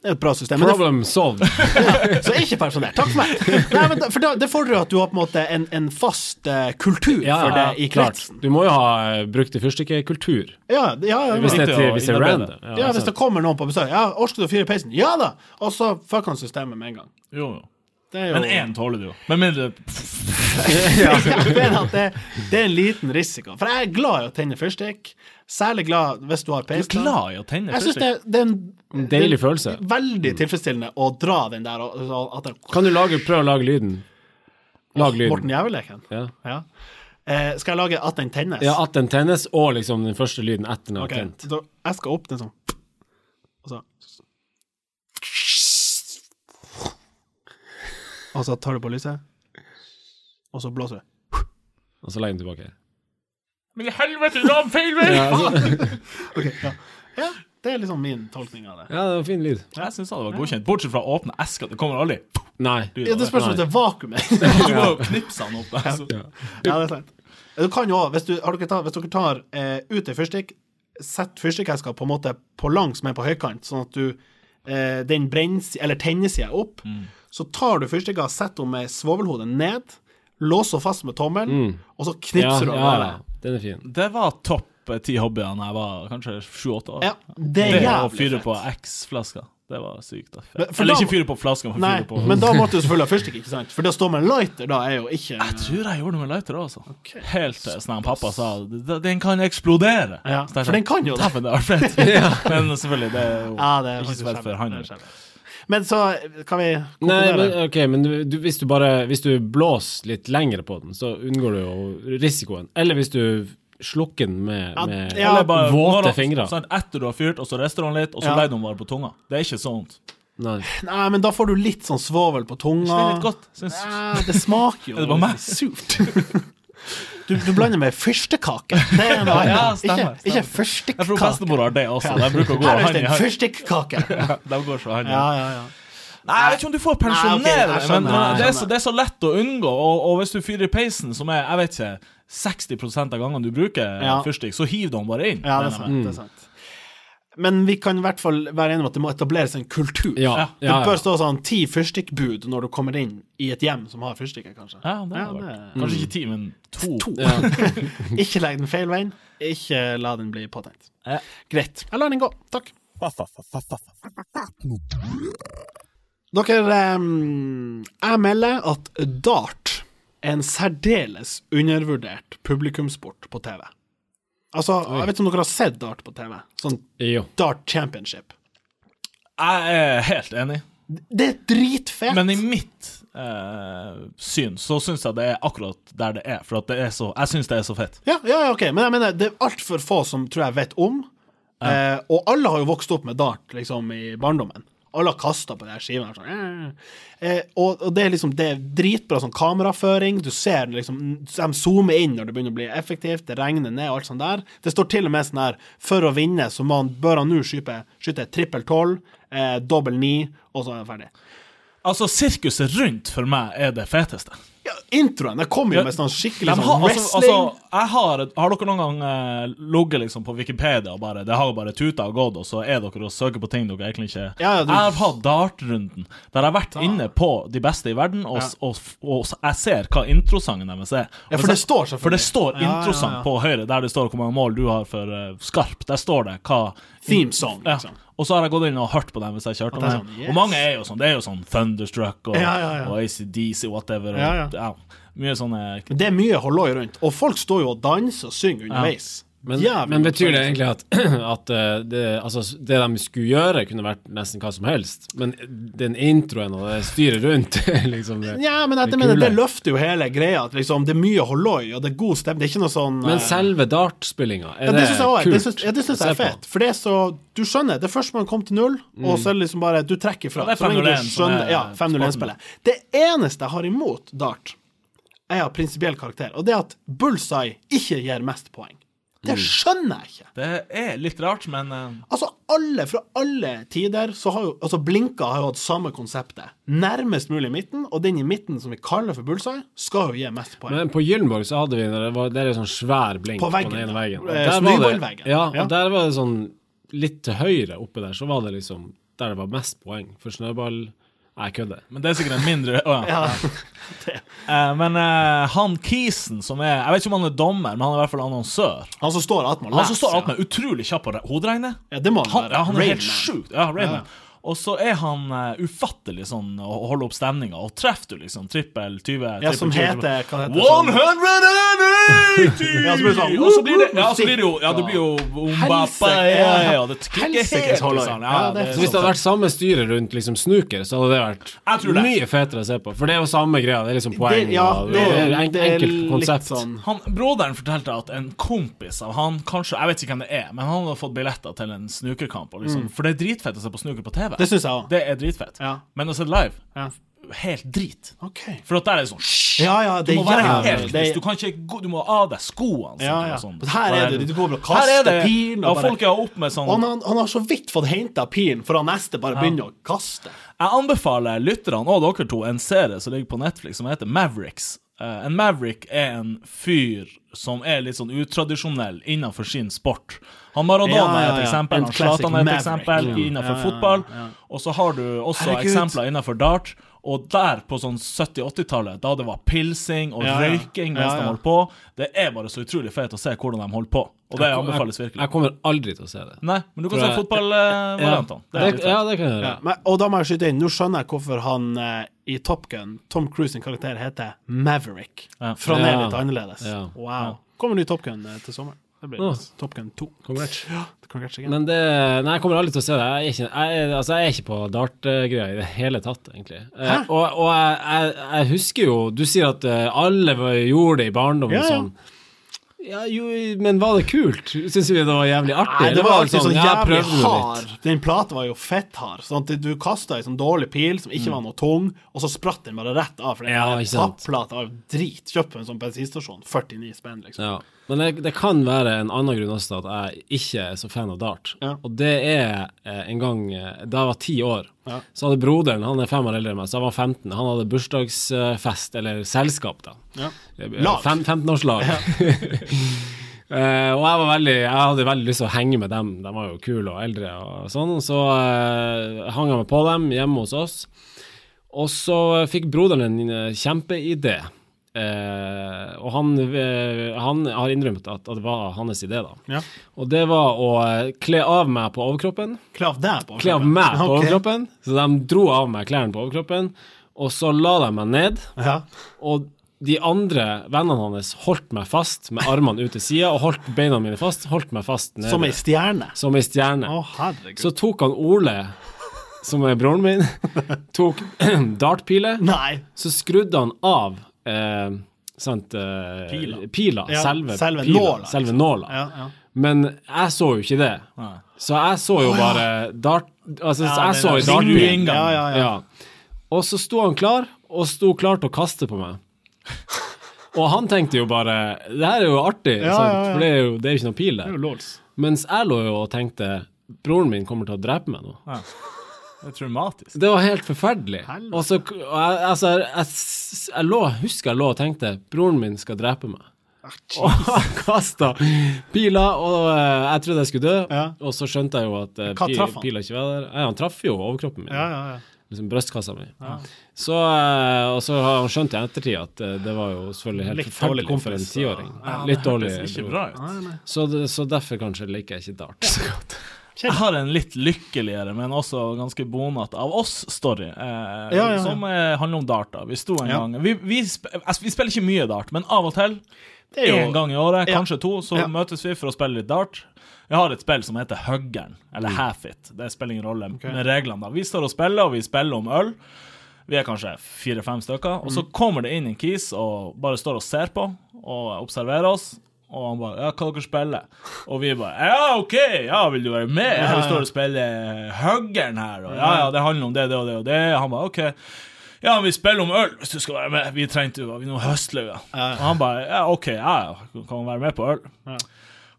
Det er et bra system. Men det,
Problem solved.
så er ikke pensjonert. Takk for meg. Nei, men da, for da, det fordrer jo at du har på en måte en, en fast eh, kultur for det i
klart.
kretsen.
Du må jo ha eh, brukte fyrstikkekultur.
Ja, ja, ja,
Hvis det,
viktig
er til-
å
hvis det er
innarbeide.
random.
Ja,
altså.
hvis det kommer noen på besøk. Ja, 'Orker du å fyre i peisen?' Ja da! Og så fuck han systemet med en gang.
Jo, jo.
Det er jo
Men én tåler du jo. Med mindre
Ja, jeg mener at det, det er en liten risiko. For jeg er glad i å tenne fyrstikk. Særlig glad hvis du har
Du er
peis. da.
glad i å tenne
Jeg syns det,
fyrstikk.
det er en,
En deilig følelse.
Veldig
Mm.
tilfredsstillende å dra den der og, og at den
Kan du lage, prøve å lage lyden? Lag
Morten
lyden.
Jæveleken.
Ja.
Ja. Eh, skal jeg lage at den tennes?
ja, at den tennes, og liksom den første lyden etter den er
Ok,
tent.
så jeg skal opp den sånn Og så Og så tar du på lyset, og så blåser du.
Og så legger den tilbake.
Men i helvete, du har feil vei!
Ja, altså,
Ja. ja, det er liksom min tolkning av det.
ja, det var en fin lyd.
Jeg syns det var godkjent. Bortsett fra å åpne eska. Det kommer aldri
Nei.
lyd
Ja,
av
det spørs om
Nei.
det er vakuum her.
Du må jo knipse den opp. Altså.
Ja, det er sant. Du kan jo også, hvis, du- har dere tatt- hvis dere tar eh, ut ei fyrstikk, sett fyrstikkeska på en måte på langs med på høykant, sånn at du eh, den brenns- eller tennesida er opp,
Mm.
så tar du fyrstikka, setter henne med svovelhodet ned, låser henne fast med tommelen,
Mm.
og så
Ja,
knipser du
ja,
av
ja.
gårde.
Den er fin.
Det var topp eh, ti hobbyer da jeg var kanskje sju-åtte år.
Ja, det er
det å
jævlig
fyre
fett.
på X-flasker. Det var sykt. Da.
Men- for
Eller
da-
ikke fyre på flasker, men
Nei,
fyre på
men da måtte du selvfølgelig ha fyrstikk, ikke sant? For det å stå med en lighter da er jo ikke
Jeg tror jeg gjorde det med lighter òg, altså. Helt til sånn at pappa sa "D- den kan eksplodere.
Ja,
Så jeg
for
sa,
den kan jo det.
"Dæven, det. har vært fett." Men selvfølgelig, det er jo
Ja, det er
ikke
faktisk
så fett for
skjebne.
han.
Det er skjebne. Men så eh, kan vi
Nei,
konkludere.
men, ok, men du, du, hvis du bare Hvis du blåser litt lengre på den, så unngår du jo risikoen. Eller hvis du slukker den med,
Ja,
med
ja.
Eller bare-
våte
når-
fingre.
Sånn, etter du har fyrt, og så rister du den litt, og så
Ja.
legger du den bare på tunga. Det er ikke sånt.
Nei.
Nei, men da får du litt sånn svovel på tunga.
Det er litt godt. Syns
Nei, det smaker jo
Er det bare meg?
surt. Du, du blander med fyrstekake. Det er noe
Ja,
annet.
stemmer,
ikke ikke
stemmer. Jeg tror
fyrstekake.
bestemor har det også. De bruker å gå
Her er
hand
det
i
en
hand.
fyrstikkake. Ja,
De går så hand i hand.
ja, ja.
Nei, jeg vet ikke om du får pensjonere
Nei, ok, jeg
deg,
skjønner,
men, men
jeg
det, er så,
skjønner.
det er så lett å unngå. Og, og hvis du fyrer i peisen, som er jeg vet ikke, 60 av gangene du bruker
Ja.
fyrstikk, så hiv du den bare inn.
ja det
mener jeg.
er sant. Det er sant. Men vi kan i hvert fall være enige om at det må etableres en kultur.
Ja, ja,
Det
ja.
bør stå sånn ti fyrstikkbud når du kommer inn i et hjem som har fyrstikker, kanskje.
Ja, det
Ja,
hadde
det-
vært. Kanskje ikke ti, men to.
To.
Ja.
Ikke legg den feil veien. Ikke la den bli påtenkt.
Ja.
Greit. Jeg lar den gå. Takk. Dere em, Jeg melder at dart er en særdeles undervurdert publikumssport på TV. Altså, jeg vet ikke om dere har sett dart på TV. Sånn
Jo.
Dart Championship.
Jeg er helt enig,
Det er dritfett!
men i mitt eh, syn så syns jeg det er akkurat der det er, for at det er så, jeg syns det er så fett.
Ja, ja, ja, ok, men jeg mener det er altfor få som tror jeg vet om. Eh, og alle har jo vokst opp med dart liksom, i barndommen. Alle har kasta på de her skivene. her, Sånn. eh. Eh, og, og det er liksom det er dritbra sånn kameraføring. Du ser liksom De zoomer inn når det begynner å bli effektivt, det regner ned og alt sånt der. Det står til og med sånn her For å vinne så må han, bør han nå skyte, skyte trippel tolv, eh, dobbel ni, og så er han ferdig.
Altså, sirkuset rundt for meg er det feteste.
Ja, introen! Jeg kommer jo
Ja,
med sånn skikkelig
De
sånn
har, altså,
wrestling.
altså, jeg har, har dere noen gang eh, ligget liksom på Wikipedia og bare Det har bare tuta og gått, og så er dere og søker på ting dere egentlig ikke
Ja, ja, du-
Jeg har hatt dartrunden der jeg har vært inne på de beste i verden, og, s- og, f- og, s- jeg ser hva introsangen deres er. Og
Ja, for
hvis
det
jeg-
står selvfølgelig.
For det står
Ja, ja, ja.
introsang på høyre, der det står hvor mange mål du har for eh, skarp. Der står det hva
Theme song,
ja.
liksom.
Og så har jeg gått inn og hørt på dem hvis jeg kjørte
det er
dem.
sånn, yes.
Og mange er jo sånn. Det er jo sånn Thunderstruck og,
Ja, ja, ja.
og ACDC, whatever. Og,
Ja, ja.
mye sånne
Det er mye halloi rundt, og folk står jo og danser og synger underveis.
Men,
Jævlig
men betyr det
oppfølgelig.
egentlig at, at eh, det, altså, det de skulle gjøre, kunne vært nesten hva som helst? Men den introen og det styret rundt liksom det.
Ja, men jeg
Det er
mener, det
kule.
løfter jo hele greia. At liksom, det er mye halloi, og det er god stemning. Det er ikke noe sånn eh,
Men selve dartspillinga,
ja,
er
det
det,
syns jeg, også-
kult?
det synes, ja, det synes jeg
å
er
se på? Mm.
fett. For det er så Du skjønner, det er først man kom til null, og så er det liksom bare Du trekker
Ja,
fra.
det er
så lenge du
501 som
skjønner-
er
Ja,
sporten.
501-spillet. Det eneste jeg har imot dart, er av prinsipiell karakter, og det er at bullseye ikke gir mest poeng.
Mm.
Det skjønner jeg ikke.
Det er litt rart, men eh,
Altså, alle fra alle tider så har jo Altså, blinka har jo hatt samme konseptet. Nærmest mulig midten, og den i midten som vi kaller for bullseye, skal jo gi mest poeng.
Men på Gyllenborg så hadde vi det var, det er en sånn svær blink
På
på,
veggen,
den ene
ja.
veggen. Og
Eh,
der var det-
Snøballveggen.
Ja,
Ja.
og der var det sånn litt til høyre oppe der, så var det liksom der det var mest poeng. For snøball Nei, jeg kødder.
Men det er sikkert en mindre Å, ja.
ja.
Eh, Men eh, han Kisen, som er Jeg vet ikke om han er dommer, men han er i hvert fall annonsør.
Han som står attmed og
Han som
leser.
står alt med utrolig kjapp på re- hoderegnet.
Ja, det må han
Han,
være.
ja, han er
Rain
helt
Man.
sjukt. Ja, Rayman. Og så er han eh, ufattelig sånn å å holde opp stemninga, og treffer du liksom trippel 20
Ja, som
trippel 20,
heter Hva heter sånn-
180!
Ja, så blir det sånn,
Og så blir det Ja, så blir det jo Ja, det blir jo
Helsike,
Ombappa, ja, ja, ja, Det klikker
Helsikes
helt,
halloi.
liksom.
Ja,
Ja,
det er
det
Så hvis det hadde vært samme styre rundt liksom snuker, så hadde det
Jeg
vært
tror det.
mye fetere å se på. For det er jo samme greia, det er liksom poeng.
Det, ja,
og,
det,
det er
er-
en-
det er
enkelt
litt
konsept.
sånn
Han, broderen fortalte at en kompis av han, kanskje, jeg vet ikke hvem det er, men han hadde fått billetter til en snukerkamp. Og liksom, For det er dritfett å se på snuker på TV.
Mm. Det syns jeg òg.
Det er dritfett.
Ja.
Men å se det live,
Ja.
helt drit.
OK.
For at der er det sånn «Hysj!»
Ja, ja,
Du
det
må være
jævlig-
helt
det-
lyst. Du, kan ikke, gå- du må ha av deg skoene.
Ja,
sikkert,
ja.
og sånn.
Men her er det- du går og
Her er
kaster
det-
pil, og
Ja,
bare-
folk er opp med sånn
Og han, han, han har så vidt fått henta pilen, for han neste bare begynner å kaste.
Jeg anbefaler lytterne og dere to en serie som ligger på Netflix som heter Mavericks. Eh, en Maverick er en fyr som er litt sånn utradisjonell innenfor sin sport. Han Maradona
Ja, ja,
er et
ja.
eksempel,
En
han
classic
Zlatan er et
Maverick.
eksempel
Ja.
innenfor
Ja, ja, ja,
fotball.
ja.
Og så har du også
Herregud.
eksempler innenfor dart. Og der, på sånn 70-80-tallet, da det var pilsing og
Ja, ja.
røyking mens
Ja, ja.
de holdt på, det er bare så utrolig fett å se hvordan de holdt på. Og det anbefales
Jeg,
virkelig.
jeg kommer aldri til å se det.
Nei, men du kan
Tror
se eh,
jeg- Ja,
fotballvariantene.
det, ja, det kan jeg gjøre.
Ja. Men, og da må jeg skyte inn, nå skjønner jeg hvorfor han eh, i Top Gun, Tom Cruise sin karakter, heter Maverick.
Ja.
For han er
Ja.
litt annerledes.
Ja.
Wow. Kommer ny Top Gun eh, til sommeren. Det blir
Ja.
Top Gun 2.
Congrats.
Ja, congrats again.
Men det, nei, jeg kommer aldri til å se det. Jeg er ikke, jeg, er- altså, jeg er ikke på dart-greia i det hele tatt, egentlig. Eh,
Hæ?
og og jeg, jeg, jeg husker jo Du sier at eh, alle var- gjorde det i barndommen.
Ja, ja.
Sånn. Ja, jo, men var det kult? Syns vi det var liksom jævlig artig?
Nei, det
Eller
var
det
alltid sånn
ja, jeg
jævlig
prøvde det litt?
hard. Den plata var jo fetthard. Sånn at du kasta ei sånn dårlig pil som ikke var noe tung, og så spratt den bare rett av. For den
Mm. Ja,
der
ikke sant.
tapplata var jo drit. Kjøpt på en sånn bensinstasjon. 49 spenn, liksom.
Ja. Men det, det kan være en annen grunn også til at jeg ikke er så fan av dart.
Ja.
Og det er eh, en gang eh, da jeg var ti år,
Ja.
så hadde broderen, han er fem år eldre enn meg, så han var 15, han hadde bursdagsfest, eller selskap, da.
Ja.
Eh,
Lag.
Fem, 15-årslag. Eh, og jeg, var veldig, jeg hadde veldig lyst til å henge med dem, de var jo kule og eldre og sånn. Så eh, hang jeg meg på dem hjemme hos oss. Og så fikk broderen en eh, kjempeidé. Eh, og han, eh, han har innrømt at, at det var hans idé, da.
Ja.
Og det var å eh, kle av meg på overkroppen
Kle av deg på
kle av meg på
Ok.
overkroppen. Så de dro av meg klærne på overkroppen, og så la de meg ned.
Ja.
Og de andre vennene hans holdt meg fast med armene ut til sida og holdt beina mine fast. Holdt meg fast nede.
Som ei stjerne.
Som ei stjerne.
Å, herregud.
Så tok han Ole, som er broren min, tok dartpiler.
Nei.
Så skrudde han av eh, sant, eh,
Pila.
pila,
Ja,
selve,
selve
pila,
nåla,
selve
liksom.
nåla.
Ja, ja.
Men jeg så jo ikke det.
Nei.
Så jeg så jo bare dart... Altså,
Ja,
jeg
det er
så jo
ring-
dartpilen.
ring-
Ja, ja, ja.
Ja. Og så sto han klar, og sto klar til å kaste på meg. Og han tenkte jo bare Det her er jo artig,
Ja, ja,
sant?
ja.
for det er, jo, det er jo ikke noen pil
Det er
der.
jo lols.
Mens jeg lå jo og tenkte Broren min kommer til å drepe meg nå.
Det er traumatisk.
Det var helt forferdelig.
Helvete.
Og så, og jeg, altså, jeg, jeg, jeg, lå, jeg husker jeg lå og tenkte Broren min skal drepe meg. Og jeg kasta pila, og eh, jeg trodde jeg skulle dø.
Ja.
Og så skjønte jeg jo at eh,
Hva
pi-
traff han?
pila ikke var der. Nei, han traff jo overkroppen min.
Ja, ja, ja.
Liksom brystkassa mi. Så, eh, og så har han skjønt i ettertid at eh, det var jo selvfølgelig helt
Litt dårlig
forferdelig for en
kompis,
tiåring.
Ja,
Litt
Det
dårlig.
høres ikke
bror.
bra ut.
Så, det- så derfor kanskje liker jeg ikke dart så godt.
Jeg har en litt lykkeligere, men også ganske bonete av oss-story, eh,
Ja, ja, ja.
som eh, handler om dart. da. Vi sto en
Ja.
gang vi, vi, sp altså, vi spiller ikke mye dart, men av og til,
Det er jo
én gang i året,
Ja.
kanskje to, så
Ja.
møtes vi for å spille litt dart. Jeg har et spill som heter Huggern, eller
Mm.
Half It. Det spiller ingen rolle med reglene. da. Vi står og spiller, og vi spiller om øl. Vi er kanskje fire-fem stykker. Og
Mm.
så kommer det inn en kis og bare står og ser på og observerer oss. Og han bare 'Ja, hva dere spiller?' Og vi bare 'Ja, OK, ja, vil du være med?' Ja, vi står og spiller Huggern her, og 'Ja, ja, det handler om det, det og det og det'. Han bare 'OK'. Ja, vi spiller om øl hvis du skal være med. Vi trengte jo vi er noen høstlauger. Og han bare ja, OK, ja, ja, kan man være med på øl?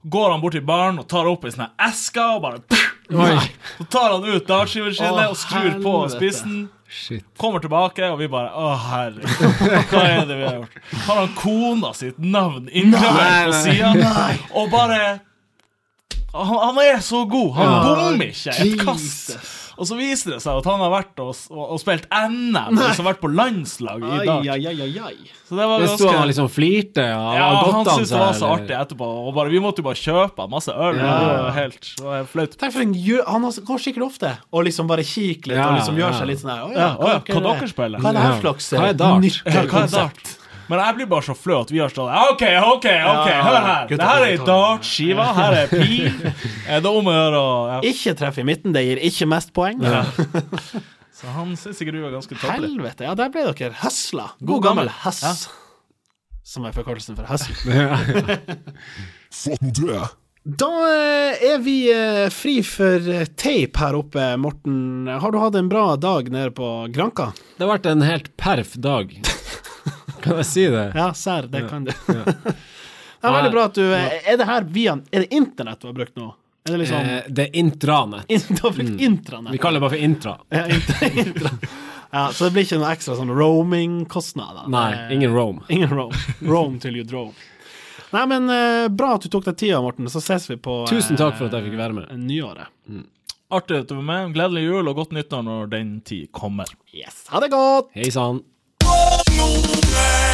Går han bort til baren og tar opp ei sånn her eske og bare Nei. Så tar han ut dartskiven sin
Å,
og skrur på
helvete.
spissen.
Shit.
Kommer tilbake, og vi bare Å, herregud, hva er det vi har gjort? Har han kona sitt navn inngravert på sida? Og bare han, han er så god. Han bommer ikke et kast. Og så viser det seg at han har vært og, og, og spilt NM, og har vært på landslag i
Ai,
dag.
ai, ai, ai, ai.
Så det var
Det sto
ganske
han liksom flirte og
ja,
og
han
godta
syntes det var så
eller-
artig etterpå. Og bare, vi måtte jo bare kjøpe masse øl.
Ja.
Det var helt det var helt flaut.
Tenk for en gjø... Han har- går sikkert ofte og liksom bare kikker litt
Ja,
og liksom gjør
ja.
seg litt sånn her.
Ja,
Å
å ja,
er
hva
det?
dere spiller?
Hva er det her
Ja.
slags eh,
Hva er dart?
Ja, hva er dart? Men jeg blir bare så flau at vi har stått der. OK, OK, ok,
Ja,
hør her.
gutta,
Det her er
gutta.
dartskiva, her er pil. Er det om å gjøre å ja.
Ikke treffe i midten, det gir ikke mest poeng.
Så han syns sikkert vi var ganske tøffe.
Helvete, ja, der ble dere høsla. God,
God
gammel
gammel.
hess. Som er forkortelsen for høssel.
Få den død.
Da eh, er vi eh, fri for eh, teip her oppe, Morten. Har du hatt en bra dag nede på Granka?
Det har vært en helt perf dag. Kan jeg si det?
Ja, serr, det kan du.
Ja.
Det er veldig bra at du eh, Er det her via Er det internett du har brukt nå? Er det
sånn-
liksom
Eh, Det er intranett.
in, Du har brukt intranett?
Vi kaller det bare for intra.
Ja, int- intra. ja, så det blir ikke noe ekstra sånn roaming-kostnader?
Eh,
Nei, ingen roam.
Ingen roam. Roam till you drove. Nei, men eh, bra at du tok deg tida, Morten. Så ses vi på eh,
Tusen takk for at jeg fikk være med.
nyåret.
Artig at du var med. Gledelig jul og godt nyttår når den tid kommer.
Yes. Ha det godt!
Hei sann.
Få den død.